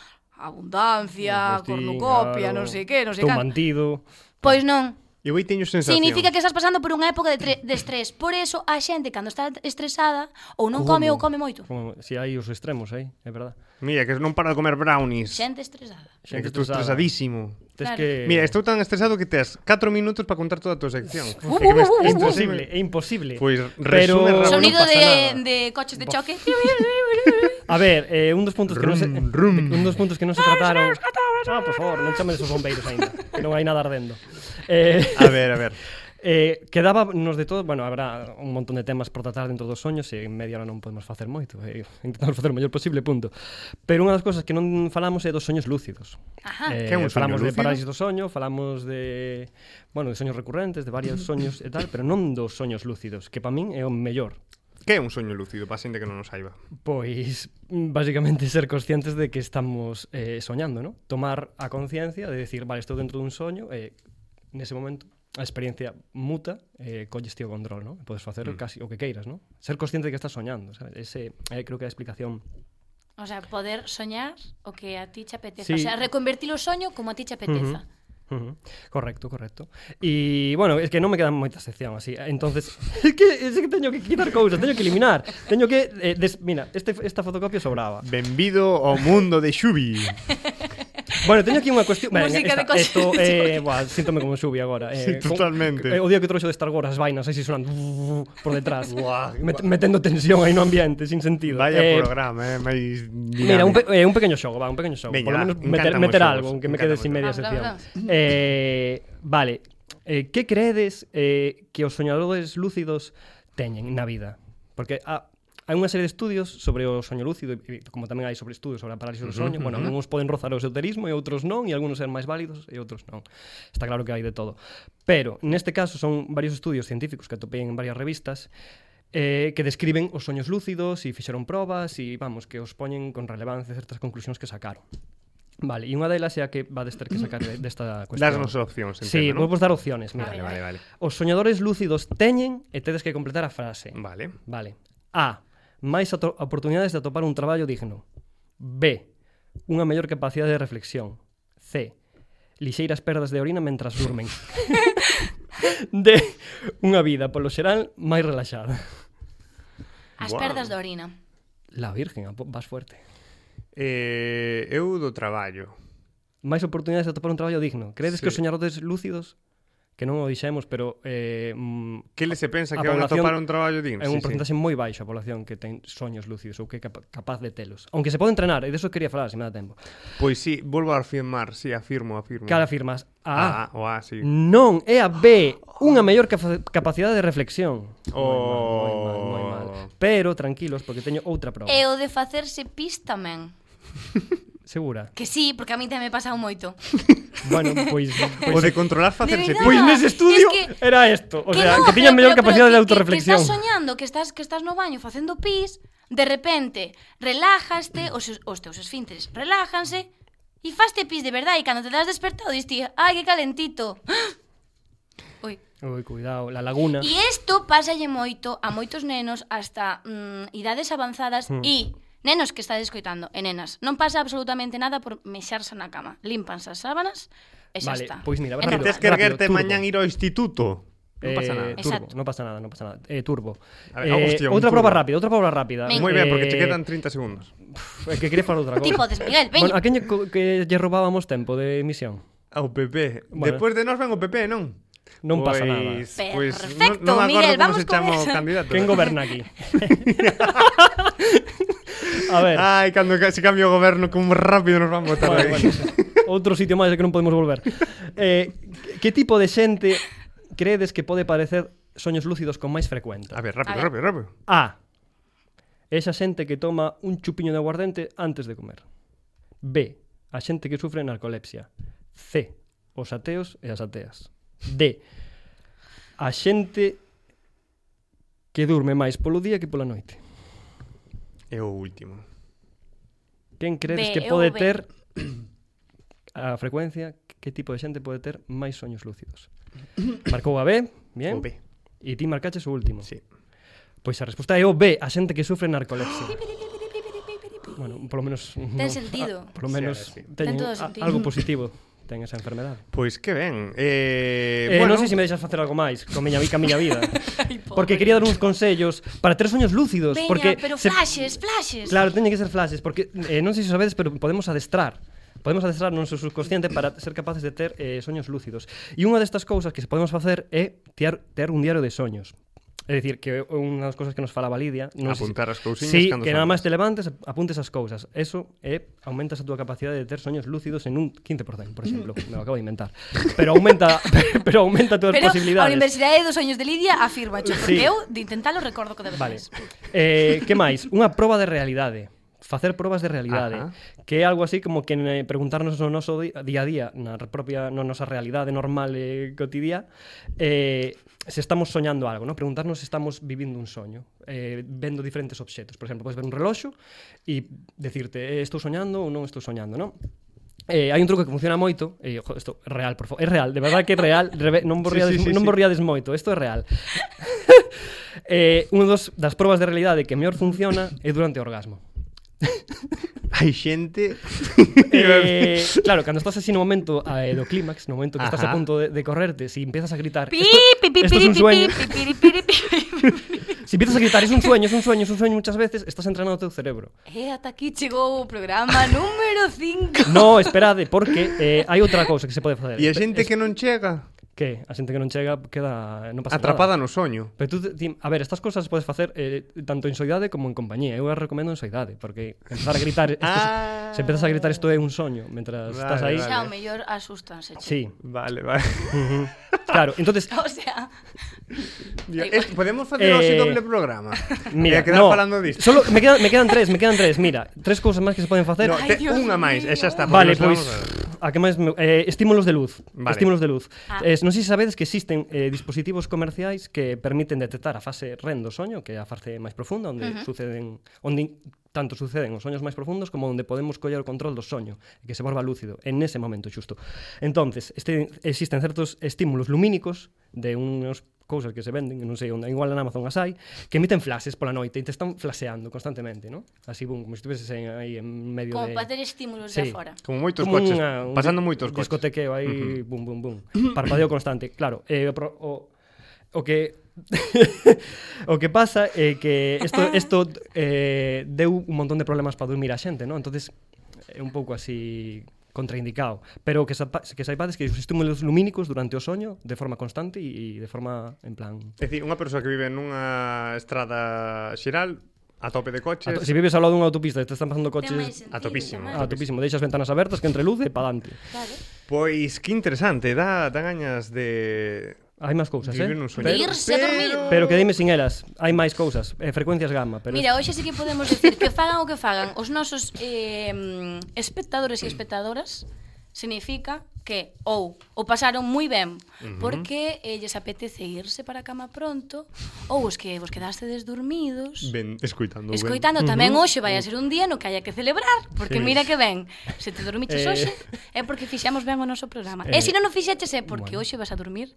[SPEAKER 2] abundancia, cornucopia, non sei que, non sei
[SPEAKER 3] que.
[SPEAKER 2] can.
[SPEAKER 3] mantido.
[SPEAKER 2] Pois non,
[SPEAKER 1] Eu aí teño sensación.
[SPEAKER 2] Significa que estás pasando por unha época de, tre- de estrés. Por eso a xente cando está estresada ou non come ou
[SPEAKER 3] Como?
[SPEAKER 2] come moito.
[SPEAKER 3] Como, si hai os extremos aí, é verdad.
[SPEAKER 1] Mira, que non para de comer brownies.
[SPEAKER 2] Xente estresada.
[SPEAKER 1] É que estou
[SPEAKER 3] estresada. Eh.
[SPEAKER 1] estresadísimo.
[SPEAKER 3] Tes
[SPEAKER 2] Claro.
[SPEAKER 3] que...
[SPEAKER 1] Mira, estou tan estresado que tes 4 minutos para contar toda a tua sección. É
[SPEAKER 2] Uh,
[SPEAKER 1] que me
[SPEAKER 2] uh, uh,
[SPEAKER 3] É
[SPEAKER 1] estresou-
[SPEAKER 3] imposible, é imposible.
[SPEAKER 1] Pois resume
[SPEAKER 3] Pero-
[SPEAKER 1] Raúl,
[SPEAKER 2] Sonido
[SPEAKER 1] non pasa
[SPEAKER 2] de,
[SPEAKER 1] nada.
[SPEAKER 2] de coches de choque.
[SPEAKER 3] A ver, eh, un dos puntos que non se
[SPEAKER 1] Rum, rum.
[SPEAKER 3] un dos puntos que non se trataron. Ah, por favor, non chames os bombeiros aínda. que Non hai nada ardendo. Eh,
[SPEAKER 1] A ver, a ver.
[SPEAKER 3] eh, quedaba nos de todo, bueno, habrá un montón de temas por tratar dentro dos soños e en media hora non podemos facer moito, eh, intentamos facer o mellor posible, punto. Pero unha das cousas que non falamos é dos soños lúcidos.
[SPEAKER 2] Ajá.
[SPEAKER 3] Eh,
[SPEAKER 1] Que é un soño
[SPEAKER 3] falamos de
[SPEAKER 1] lúcido?
[SPEAKER 3] parálisis do soño, falamos de, bueno, de soños recurrentes, de varios soños e tal, pero non dos soños lúcidos, que para min é o mellor.
[SPEAKER 1] Que é un soño lúcido, para a xente que non o saiba.
[SPEAKER 3] Pois, mm, basicamente ser conscientes de que estamos eh, soñando, ¿no? Tomar a conciencia de decir, vale, estou dentro dun soño e nese momento a experiencia muta eh, colles tío control, ¿no? E Podes facer mm. casi o que queiras, ¿no? Ser consciente de que estás soñando, ¿sabes? Ese, eh, creo que é a explicación
[SPEAKER 2] O sea, poder soñar o que a ti che apeteza. O
[SPEAKER 3] Sí.
[SPEAKER 2] sea, reconvertir o soño como a ti che apeteza.
[SPEAKER 3] Ujú. Correcto, correcto. Y bueno, es que non me quedan moitas sección así. Entonces, es que, es que teño que quitar cousas, teño que eliminar, teño que eh, des... mira, este, esta fotocopia sobraba.
[SPEAKER 1] Benvido ao mundo de Xubi.
[SPEAKER 3] Bueno, teño aquí unha cuestión, Venga,
[SPEAKER 2] Música de
[SPEAKER 3] esta,
[SPEAKER 2] coche.
[SPEAKER 3] esto, eh, buah, síntome como xubi agora, eh.
[SPEAKER 1] Sí,
[SPEAKER 3] con-
[SPEAKER 1] totalmente.
[SPEAKER 3] eh, o día que trouxo de Star Wars as vainas así sonando por detrás. met, metendo tensión aí no ambiente sin sentido.
[SPEAKER 1] Vaya
[SPEAKER 3] Eh,
[SPEAKER 1] programa, eh, máis
[SPEAKER 3] Mira,
[SPEAKER 1] dinámico.
[SPEAKER 3] un, pe eh, un pequeño xogo, va, un pequeño xogo.
[SPEAKER 1] Veña,
[SPEAKER 3] Por lo menos
[SPEAKER 1] va,
[SPEAKER 3] meter,
[SPEAKER 1] encántame
[SPEAKER 3] meter
[SPEAKER 1] os xogos,
[SPEAKER 3] algo, que me
[SPEAKER 1] encántame
[SPEAKER 3] quede
[SPEAKER 1] os
[SPEAKER 3] sin media
[SPEAKER 2] xogos. Vamos,
[SPEAKER 3] sección.
[SPEAKER 2] vamos,
[SPEAKER 3] Eh, vale, eh, que credes eh, que os soñadores lúcidos teñen na vida? Porque ah, hai unha serie de estudios sobre o soño lúcido, e como tamén hai sobre estudios sobre a parálisis do soño, bueno, algúns poden rozar o esoterismo e outros non, e algúns ser máis válidos e outros non. Está claro que hai de todo. Pero, neste caso, son varios estudios científicos que atopei en varias revistas eh, que describen os soños lúcidos e fixeron probas e, vamos, que os poñen con relevancia certas conclusións que sacaron. Vale, e unha delas é a que va a ter que sacar de- desta cuestión.
[SPEAKER 1] Dasnos opcións, entendo,
[SPEAKER 3] Sí,
[SPEAKER 1] non?
[SPEAKER 3] vou vos dar opciones, mira.
[SPEAKER 1] Vale, vale, vale.
[SPEAKER 3] Os soñadores lúcidos teñen e tedes que completar a frase.
[SPEAKER 1] Vale.
[SPEAKER 3] Vale. A. Máis ato- oportunidades de atopar un traballo digno. B. Unha mellor capacidade de reflexión. C. Lixeiras perdas de orina mentras durmen. D. Unha vida, polo xeral, máis relaxada.
[SPEAKER 2] As
[SPEAKER 1] Guau.
[SPEAKER 2] perdas da orina.
[SPEAKER 3] La virgen, apo- vas fuerte.
[SPEAKER 1] Eh, eu do traballo.
[SPEAKER 3] Máis oportunidades de atopar un traballo digno. Credes
[SPEAKER 1] Sí.
[SPEAKER 3] que os soñadores lúcidos, que non o dixemos, pero eh, mm,
[SPEAKER 1] Que le se pensa
[SPEAKER 3] A
[SPEAKER 1] que van a
[SPEAKER 3] población
[SPEAKER 1] topar un traballo digno?
[SPEAKER 3] É un porcentaxe moi baixo a población que ten soños lúcidos ou que é capa- capaz de telos. Aunque se pode entrenar, e deso quería falar, se me dá tempo.
[SPEAKER 1] Pois sí, volvo a afirmar, sí, afirmo, afirmo.
[SPEAKER 3] Cal afirmas?
[SPEAKER 1] Mm. Ah,
[SPEAKER 3] A.
[SPEAKER 1] o A, sí.
[SPEAKER 3] Non, é a B, unha mellor capa- capacidade de reflexión. Moi mal, moi mal, moi
[SPEAKER 1] Oh.
[SPEAKER 3] mal. Pero tranquilos, porque teño outra prova.
[SPEAKER 2] E o de facerse pis tamén.
[SPEAKER 3] Segura.
[SPEAKER 2] Que sí, porque a mí tamén me pasou moito.
[SPEAKER 3] Bueno, pois...
[SPEAKER 1] O
[SPEAKER 3] pois
[SPEAKER 1] de controlar facerse
[SPEAKER 2] verdade.
[SPEAKER 1] pis.
[SPEAKER 3] Pois nese estudio
[SPEAKER 2] Es que-
[SPEAKER 3] era esto, o sea,
[SPEAKER 2] no,
[SPEAKER 3] que tiñan
[SPEAKER 2] pero-
[SPEAKER 3] mellor
[SPEAKER 2] pero- pero
[SPEAKER 3] capacidade de
[SPEAKER 2] que- que-
[SPEAKER 3] autorreflexión.
[SPEAKER 2] Que, estás soñando, que estás, que estás no baño facendo pis, de repente relájaste, os, os teus esfínteres relájanse, e faste pis de verdade, e cando te das despertado, dis ti, ai, que calentito. Ui.
[SPEAKER 3] Ui, cuidado, la laguna.
[SPEAKER 2] E isto pásalle moito a moitos nenos hasta mm, idades avanzadas
[SPEAKER 3] Hmm.
[SPEAKER 2] e nenos que estades escoitando, e nenas, non pasa absolutamente nada por mexarse na cama. Limpanse as sábanas e xa
[SPEAKER 3] Vale,
[SPEAKER 2] está.
[SPEAKER 3] pois mira,
[SPEAKER 2] É
[SPEAKER 3] rápido.
[SPEAKER 2] natural.
[SPEAKER 1] Tes que erguerte
[SPEAKER 3] turbo.
[SPEAKER 1] mañán ir ao instituto. Non
[SPEAKER 3] Eh,
[SPEAKER 1] pasa nada.
[SPEAKER 3] Turbo,
[SPEAKER 2] Exacto.
[SPEAKER 3] no pasa nada, no pasa nada. Eh, turbo.
[SPEAKER 1] A ver,
[SPEAKER 3] Eh,
[SPEAKER 1] hostia, un
[SPEAKER 3] otra
[SPEAKER 1] turbo.
[SPEAKER 3] prueba rápida, otra prueba rápida.
[SPEAKER 2] Venga.
[SPEAKER 1] Moi ben, porque te
[SPEAKER 3] Eh,
[SPEAKER 1] quedan 30 segundos.
[SPEAKER 3] pf, é que quería falar outra cosa.
[SPEAKER 2] Ti podes, Miguel, veña.
[SPEAKER 3] Bueno, a quen lle co- que lle robábamos tempo de emisión?
[SPEAKER 1] Ao PP.
[SPEAKER 3] Bueno.
[SPEAKER 1] Despois de nós ven o PP, non?
[SPEAKER 3] Non pasa nada.
[SPEAKER 1] Pois- pois
[SPEAKER 2] Perfecto,
[SPEAKER 1] non- non me acordo
[SPEAKER 2] Miguel,
[SPEAKER 1] como
[SPEAKER 2] vamos
[SPEAKER 1] se
[SPEAKER 2] con
[SPEAKER 1] chama o
[SPEAKER 2] esa.
[SPEAKER 1] candidato.
[SPEAKER 3] Quen goberna aquí? A ver.
[SPEAKER 1] Ai, cando ca- se cambia o goberno, como rápido nos van botar
[SPEAKER 3] Bueno,
[SPEAKER 1] aí.
[SPEAKER 3] bueno, outro sitio máis ao que non podemos volver. Eh, que tipo de xente credes que pode parecer soños lúcidos con máis frecuente?
[SPEAKER 1] A ver, rápido,
[SPEAKER 2] A ver.
[SPEAKER 1] rápido, rápido.
[SPEAKER 3] A. Esa xente que toma un chupiño de aguardente antes de comer. B. A xente que sufre narcolepsia. C. Os ateos e as ateas. D. A xente que durme máis polo día que pola noite.
[SPEAKER 1] É o último.
[SPEAKER 3] Quen
[SPEAKER 2] B,
[SPEAKER 3] credes que
[SPEAKER 2] eu
[SPEAKER 3] pode
[SPEAKER 2] B.
[SPEAKER 3] ter a frecuencia, que tipo de xente pode ter máis soños lúcidos? Marcou a B, bien.
[SPEAKER 1] O B.
[SPEAKER 3] E ti marcaches o último.
[SPEAKER 1] Sí.
[SPEAKER 3] Pois a resposta é o B, a xente que sufre narcolepsia. bueno, polo menos
[SPEAKER 2] Ten sentido.
[SPEAKER 3] Ah, polo menos
[SPEAKER 1] Sí, sí.
[SPEAKER 3] teñen
[SPEAKER 2] Ten todo
[SPEAKER 3] a-
[SPEAKER 2] sentido.
[SPEAKER 3] algo positivo ten esa enfermedade.
[SPEAKER 1] Pois que ben. Eh,
[SPEAKER 3] Eh,
[SPEAKER 1] bueno,
[SPEAKER 3] non sei se me deixas facer algo máis con miña, vi- ca miña vida.
[SPEAKER 2] Ai, pobre.
[SPEAKER 3] porque quería dar uns consellos para ter soños lúcidos,
[SPEAKER 2] Veña,
[SPEAKER 3] porque
[SPEAKER 2] pero
[SPEAKER 3] se-
[SPEAKER 2] flashes, flashes.
[SPEAKER 3] Claro, teñen que ser flashes, porque eh, non sei se o sabedes, pero podemos adestrar. Podemos adestrar o noso subconsciente para ser capaces de ter eh, soños lúcidos. E unha destas cousas que se podemos facer é tiar, ter un diario de soños. É dicir, que é unha das cousas que nos falaba Lidia... Non sei
[SPEAKER 1] Apuntar as cousiñas
[SPEAKER 3] sí,
[SPEAKER 1] cando
[SPEAKER 3] que nada
[SPEAKER 1] soñas.
[SPEAKER 3] máis te levantes, apuntes as cousas. Eso eh, é, aumentas a túa capacidade de ter soños lúcidos en un 15%, por exemplo. Me lo acabo de inventar. Pero aumenta, pero aumenta todas as
[SPEAKER 2] Pero a
[SPEAKER 3] posibilidades.
[SPEAKER 2] Universidade dos Soños de Lidia afirma cho, porque
[SPEAKER 3] Sí.
[SPEAKER 2] eu de intentalo recordo que debe
[SPEAKER 3] Vale. Eh, que máis? Unha proba de realidade. Facer probas de realidade,
[SPEAKER 1] Ajá.
[SPEAKER 3] que é algo así como que eh, preguntarnos o noso di- día a día, na propia na nosa realidade normal e cotidiá, eh, se estamos soñando algo, ¿no? preguntarnos se estamos vivindo un soño, eh, vendo diferentes obxetos. Por exemplo, podes ver un reloxo e decirte, eh, estou soñando ou non estou soñando, non? Eh, hai un truco que funciona moito, e eh, jo, isto é real, por favor, é real, de verdade que é real, reve, non vos
[SPEAKER 1] Sí,
[SPEAKER 3] riades,
[SPEAKER 1] sí, sí, sí.
[SPEAKER 3] non vos riades moito, isto é real. Eh, unha dos das probas de realidade que mellor funciona é durante o orgasmo.
[SPEAKER 1] hai xente...
[SPEAKER 3] Eh, claro, cando estás así no momento eh, do clímax, no momento que estás
[SPEAKER 1] Ajá.
[SPEAKER 3] a punto de, de correrte, si empiezas a gritar,
[SPEAKER 2] Pi,
[SPEAKER 3] "Esto-
[SPEAKER 2] pi, pi,
[SPEAKER 3] esto es
[SPEAKER 2] piri,
[SPEAKER 3] un
[SPEAKER 2] pi,
[SPEAKER 3] sueño.
[SPEAKER 2] pi, pi, piri, piri, pi.
[SPEAKER 3] Si empiezas a gritar, es un sueño, es un sueño, es un sueño muchas veces, estás entrenando o teu cerebro.
[SPEAKER 2] E ata Eh, aquí chegou o programa número 5.
[SPEAKER 3] No, esperade, porque eh, hai outra cousa que se pode facer.
[SPEAKER 1] E a xente que non chega
[SPEAKER 3] que a xente que non chega queda non pasa
[SPEAKER 1] atrapada
[SPEAKER 3] nada.
[SPEAKER 1] no soño.
[SPEAKER 3] Pero tú, ti, a ver, estas cousas podes facer eh, tanto en soidade como en compañía. Eu as recomendo en soidade, porque empezar a gritar, esto,
[SPEAKER 1] Ah.
[SPEAKER 3] se empezas a gritar isto é un soño, mentras
[SPEAKER 1] Vale,
[SPEAKER 3] estás aí.
[SPEAKER 1] vale.
[SPEAKER 2] Xa o mellor asústanse. che.
[SPEAKER 3] Sí,
[SPEAKER 1] Vale, vale.
[SPEAKER 3] claro. Entonces,
[SPEAKER 2] O sea,
[SPEAKER 1] Digo,
[SPEAKER 2] Igual.
[SPEAKER 1] es- podemos facer hoxe
[SPEAKER 3] Eh,
[SPEAKER 1] doble programa. Mira,
[SPEAKER 3] mira,
[SPEAKER 1] quedar
[SPEAKER 3] no,
[SPEAKER 1] falando disto.
[SPEAKER 3] Solo me quedan me quedan tres, me quedan tres, mira, tres cousas máis que se poden facer.
[SPEAKER 1] No, te,
[SPEAKER 2] Ay, Dios
[SPEAKER 1] unha máis, e xa está. porque
[SPEAKER 3] Vale,
[SPEAKER 1] nos vamos
[SPEAKER 3] pois
[SPEAKER 1] a ver.
[SPEAKER 3] a que máis me- eh, estímulos de luz,
[SPEAKER 1] Vale.
[SPEAKER 3] estímulos de luz.
[SPEAKER 2] Ah.
[SPEAKER 3] Eh, non sei se sabedes que existen eh, dispositivos comerciais que permiten detectar a fase REM do soño, que é a fase máis profunda onde uh -huh. suceden onde in- tanto suceden os soños máis profundos como onde podemos coller o control do soño, e que se volva lúcido en ese momento xusto. Entonces, este, existen certos estímulos lumínicos de unos cousas que se venden, que non sei onde, igual en Amazon as hai, que emiten flashes pola noite e te están flaseando constantemente, ¿no? Así, bum, como se estiveses en- aí en medio
[SPEAKER 2] como
[SPEAKER 3] de...
[SPEAKER 2] para ter estímulos de
[SPEAKER 3] eh. Sí.
[SPEAKER 2] fora.
[SPEAKER 1] Como moitos coches,
[SPEAKER 3] unha- un
[SPEAKER 1] pasando
[SPEAKER 3] di-
[SPEAKER 1] moitos coches.
[SPEAKER 3] Discotequeo aí, bum, bum, bum. Parpadeo constante, claro. Eh, o, pro- o, o que... o que pasa é que isto isto eh, deu un montón de problemas para dormir a xente, non? Entonces é un pouco así contraindicado, pero o que sapa, que saibades que os estímulos lumínicos durante o soño de forma constante e e de forma en plan
[SPEAKER 1] É dicir, unha persoa que vive nunha estrada xiral, a tope de coches,
[SPEAKER 3] Ato, se vives ao lado dunha autopista e te están pasando coches
[SPEAKER 2] máis sentido,
[SPEAKER 1] atopísimo,
[SPEAKER 2] tamén.
[SPEAKER 3] a topísimo, deixas ventanas abertas que entre luz e pa dante.
[SPEAKER 2] Claro.
[SPEAKER 1] pois que interesante, dá, dá gañas de...
[SPEAKER 3] Hai máis cousas, eh?
[SPEAKER 1] vivir un sueño.
[SPEAKER 2] De irse a dormir.
[SPEAKER 3] Pero que dime sin elas, hai máis cousas, eh, frecuencias gamma, pero
[SPEAKER 2] Mira, hoxe sí que podemos decir que fagan o que fagan os nosos eh, mm, espectadores e espectadoras significa que ou o pasaron moi ben porque eh, lles apetece irse para a cama pronto ou os que vos quedastedes dormidos
[SPEAKER 1] Ben, escuitando. ben.
[SPEAKER 2] Escoitando tamén hoxe vai a ser un día no que haya que celebrar, porque mira que ben, se te dormiches
[SPEAKER 3] Eh.
[SPEAKER 2] hoxe é porque fixemos ben o noso programa. E
[SPEAKER 3] Eh,
[SPEAKER 2] se non o fixeches é porque
[SPEAKER 3] bueno.
[SPEAKER 2] hoxe vas a dormir.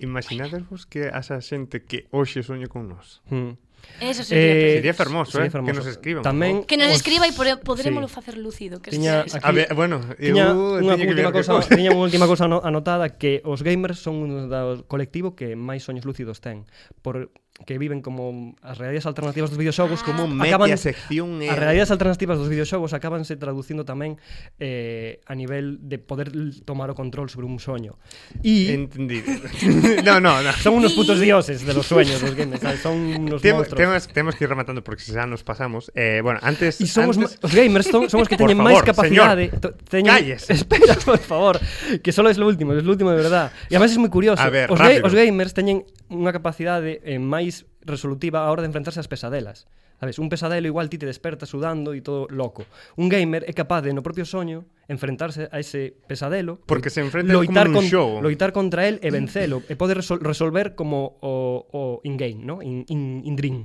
[SPEAKER 1] Imaginadevos que asa xente que hoxe soñe con nós.
[SPEAKER 3] Mm.
[SPEAKER 2] Eso sería eh,
[SPEAKER 1] Sería fermoso, eh, que nos escriban, por
[SPEAKER 3] Tamén
[SPEAKER 2] que nos
[SPEAKER 3] os-
[SPEAKER 2] escriba e pode- poderemoslo
[SPEAKER 3] sí.
[SPEAKER 2] facer lúcido, que
[SPEAKER 3] Tiña
[SPEAKER 2] este-
[SPEAKER 3] aquí-
[SPEAKER 1] A ver, bueno,
[SPEAKER 3] Tiña
[SPEAKER 1] eu
[SPEAKER 3] unha
[SPEAKER 1] teño que
[SPEAKER 3] última
[SPEAKER 1] ver que
[SPEAKER 3] cousa,
[SPEAKER 1] cousa.
[SPEAKER 3] tiña unha última cousa ano- anotada que os gamers son un do colectivo que máis soños lúcidos ten por que viven como as realidades alternativas dos videoxogos
[SPEAKER 1] Como Ah. media
[SPEAKER 3] acaban
[SPEAKER 1] sección
[SPEAKER 3] As realidades alternativas dos videoxogos acabanse traducindo tamén eh, a nivel de poder l- tomar o control sobre un soño. E
[SPEAKER 1] Entendido. no, no, no.
[SPEAKER 3] son unos putos
[SPEAKER 2] Y-
[SPEAKER 3] dioses de los sueños dos games, ¿sabes? son unos
[SPEAKER 1] Tem-
[SPEAKER 3] monstruos.
[SPEAKER 1] Temos, temos que ir rematando porque xa nos pasamos. Eh, bueno, antes
[SPEAKER 3] E somos
[SPEAKER 1] antes...
[SPEAKER 3] ma- os gamers son, somos que
[SPEAKER 1] Por
[SPEAKER 3] teñen máis
[SPEAKER 1] favor,
[SPEAKER 3] capacidade,
[SPEAKER 1] señor,
[SPEAKER 3] to- teñen
[SPEAKER 1] calles.
[SPEAKER 3] Espera, por favor, que solo es lo último, es lo último de verdad. E además es moi curioso.
[SPEAKER 1] A ver,
[SPEAKER 3] os, ga-
[SPEAKER 1] rápido.
[SPEAKER 3] os gamers teñen unha capacidade eh, máis resolutiva a hora de enfrentarse ás pesadelas. Sabes, un pesadelo igual ti te desperta sudando e todo loco. Un gamer é capaz de no propio soño enfrentarse a ese pesadelo
[SPEAKER 1] Porque se enfrenta como nun
[SPEAKER 3] con-
[SPEAKER 1] xogo.
[SPEAKER 3] loitar contra el e vencelo e pode Eh, resol resolver como o, o in-game, ¿no? In, in, in dream.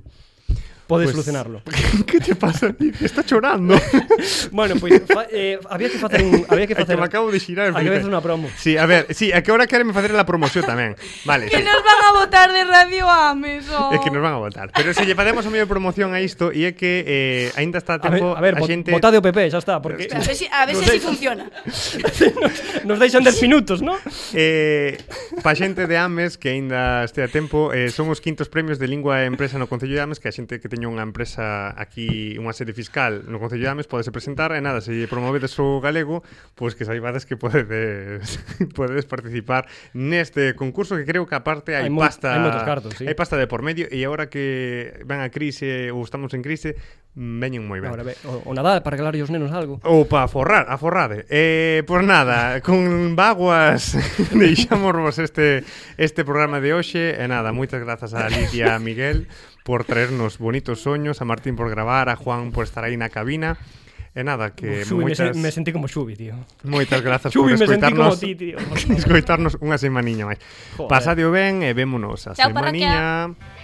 [SPEAKER 3] Podes
[SPEAKER 1] Pues-
[SPEAKER 3] solucionarlo.
[SPEAKER 1] ¿Qué te pasa? tío? Está chorando.
[SPEAKER 3] Bueno, pois fa, eh, había que facer un había que
[SPEAKER 1] É
[SPEAKER 3] facer
[SPEAKER 1] que me acabo de xirar.
[SPEAKER 3] Hai que
[SPEAKER 1] Felipe.
[SPEAKER 3] facer unha promo.
[SPEAKER 1] Sí, a ver, sí, a que ahora quereme facer la promoción tamén. Vale,
[SPEAKER 2] Que
[SPEAKER 1] sí.
[SPEAKER 2] nos van a votar de Radio Ames,
[SPEAKER 1] É
[SPEAKER 2] oh.
[SPEAKER 1] que nos van a votar. Pero se lle facemos a medio promoción a isto e é que eh, aínda está a
[SPEAKER 3] A ver,
[SPEAKER 1] tempo
[SPEAKER 3] a ver,
[SPEAKER 1] a
[SPEAKER 3] vo-
[SPEAKER 1] xente
[SPEAKER 3] votade o PP, xa está, porque
[SPEAKER 2] A ver si, a ver si así funciona.
[SPEAKER 3] nos deixan 10 minutos, ¿no?
[SPEAKER 1] Eh, pa xente de Ames que aínda este a tempo eh, son os quintos premios de lingua e empresa no Concello de Ames que a xente que teña unha empresa aquí unha sede fiscal no Concello de Ames podese presentar e nada, se promovedes o galego pois que saibades que podedes podedes participar neste concurso que creo que aparte hai,
[SPEAKER 3] Hai mo-
[SPEAKER 1] pasta
[SPEAKER 3] hai moitos cartos, sí.
[SPEAKER 1] hai pasta de por medio e agora que van a crise ou estamos en crise mm, veñen moi ben
[SPEAKER 3] Ahora ve, o, o Nadal para regalar os nenos algo.
[SPEAKER 1] Ou para forrar, a forrade. Eh, por nada, con vaguas deixámonos este este programa de hoxe. E nada, moitas grazas a Lidia e a Miguel por traernos bonitos soños, a Martín por gravar, a Juan por estar aí na cabina. E nada, que
[SPEAKER 3] Xubi, me,
[SPEAKER 1] moitas,
[SPEAKER 3] se- me sentí como Xubi, tío.
[SPEAKER 1] moitas grazas por
[SPEAKER 3] Xubi, me sentí como
[SPEAKER 1] escoitarnos.
[SPEAKER 3] ti, tío.
[SPEAKER 1] escoitarnos unha semaniña máis.
[SPEAKER 3] Joder.
[SPEAKER 1] Pasade o ben e vémonos a
[SPEAKER 2] Chao,
[SPEAKER 1] semaniña. Parraquia.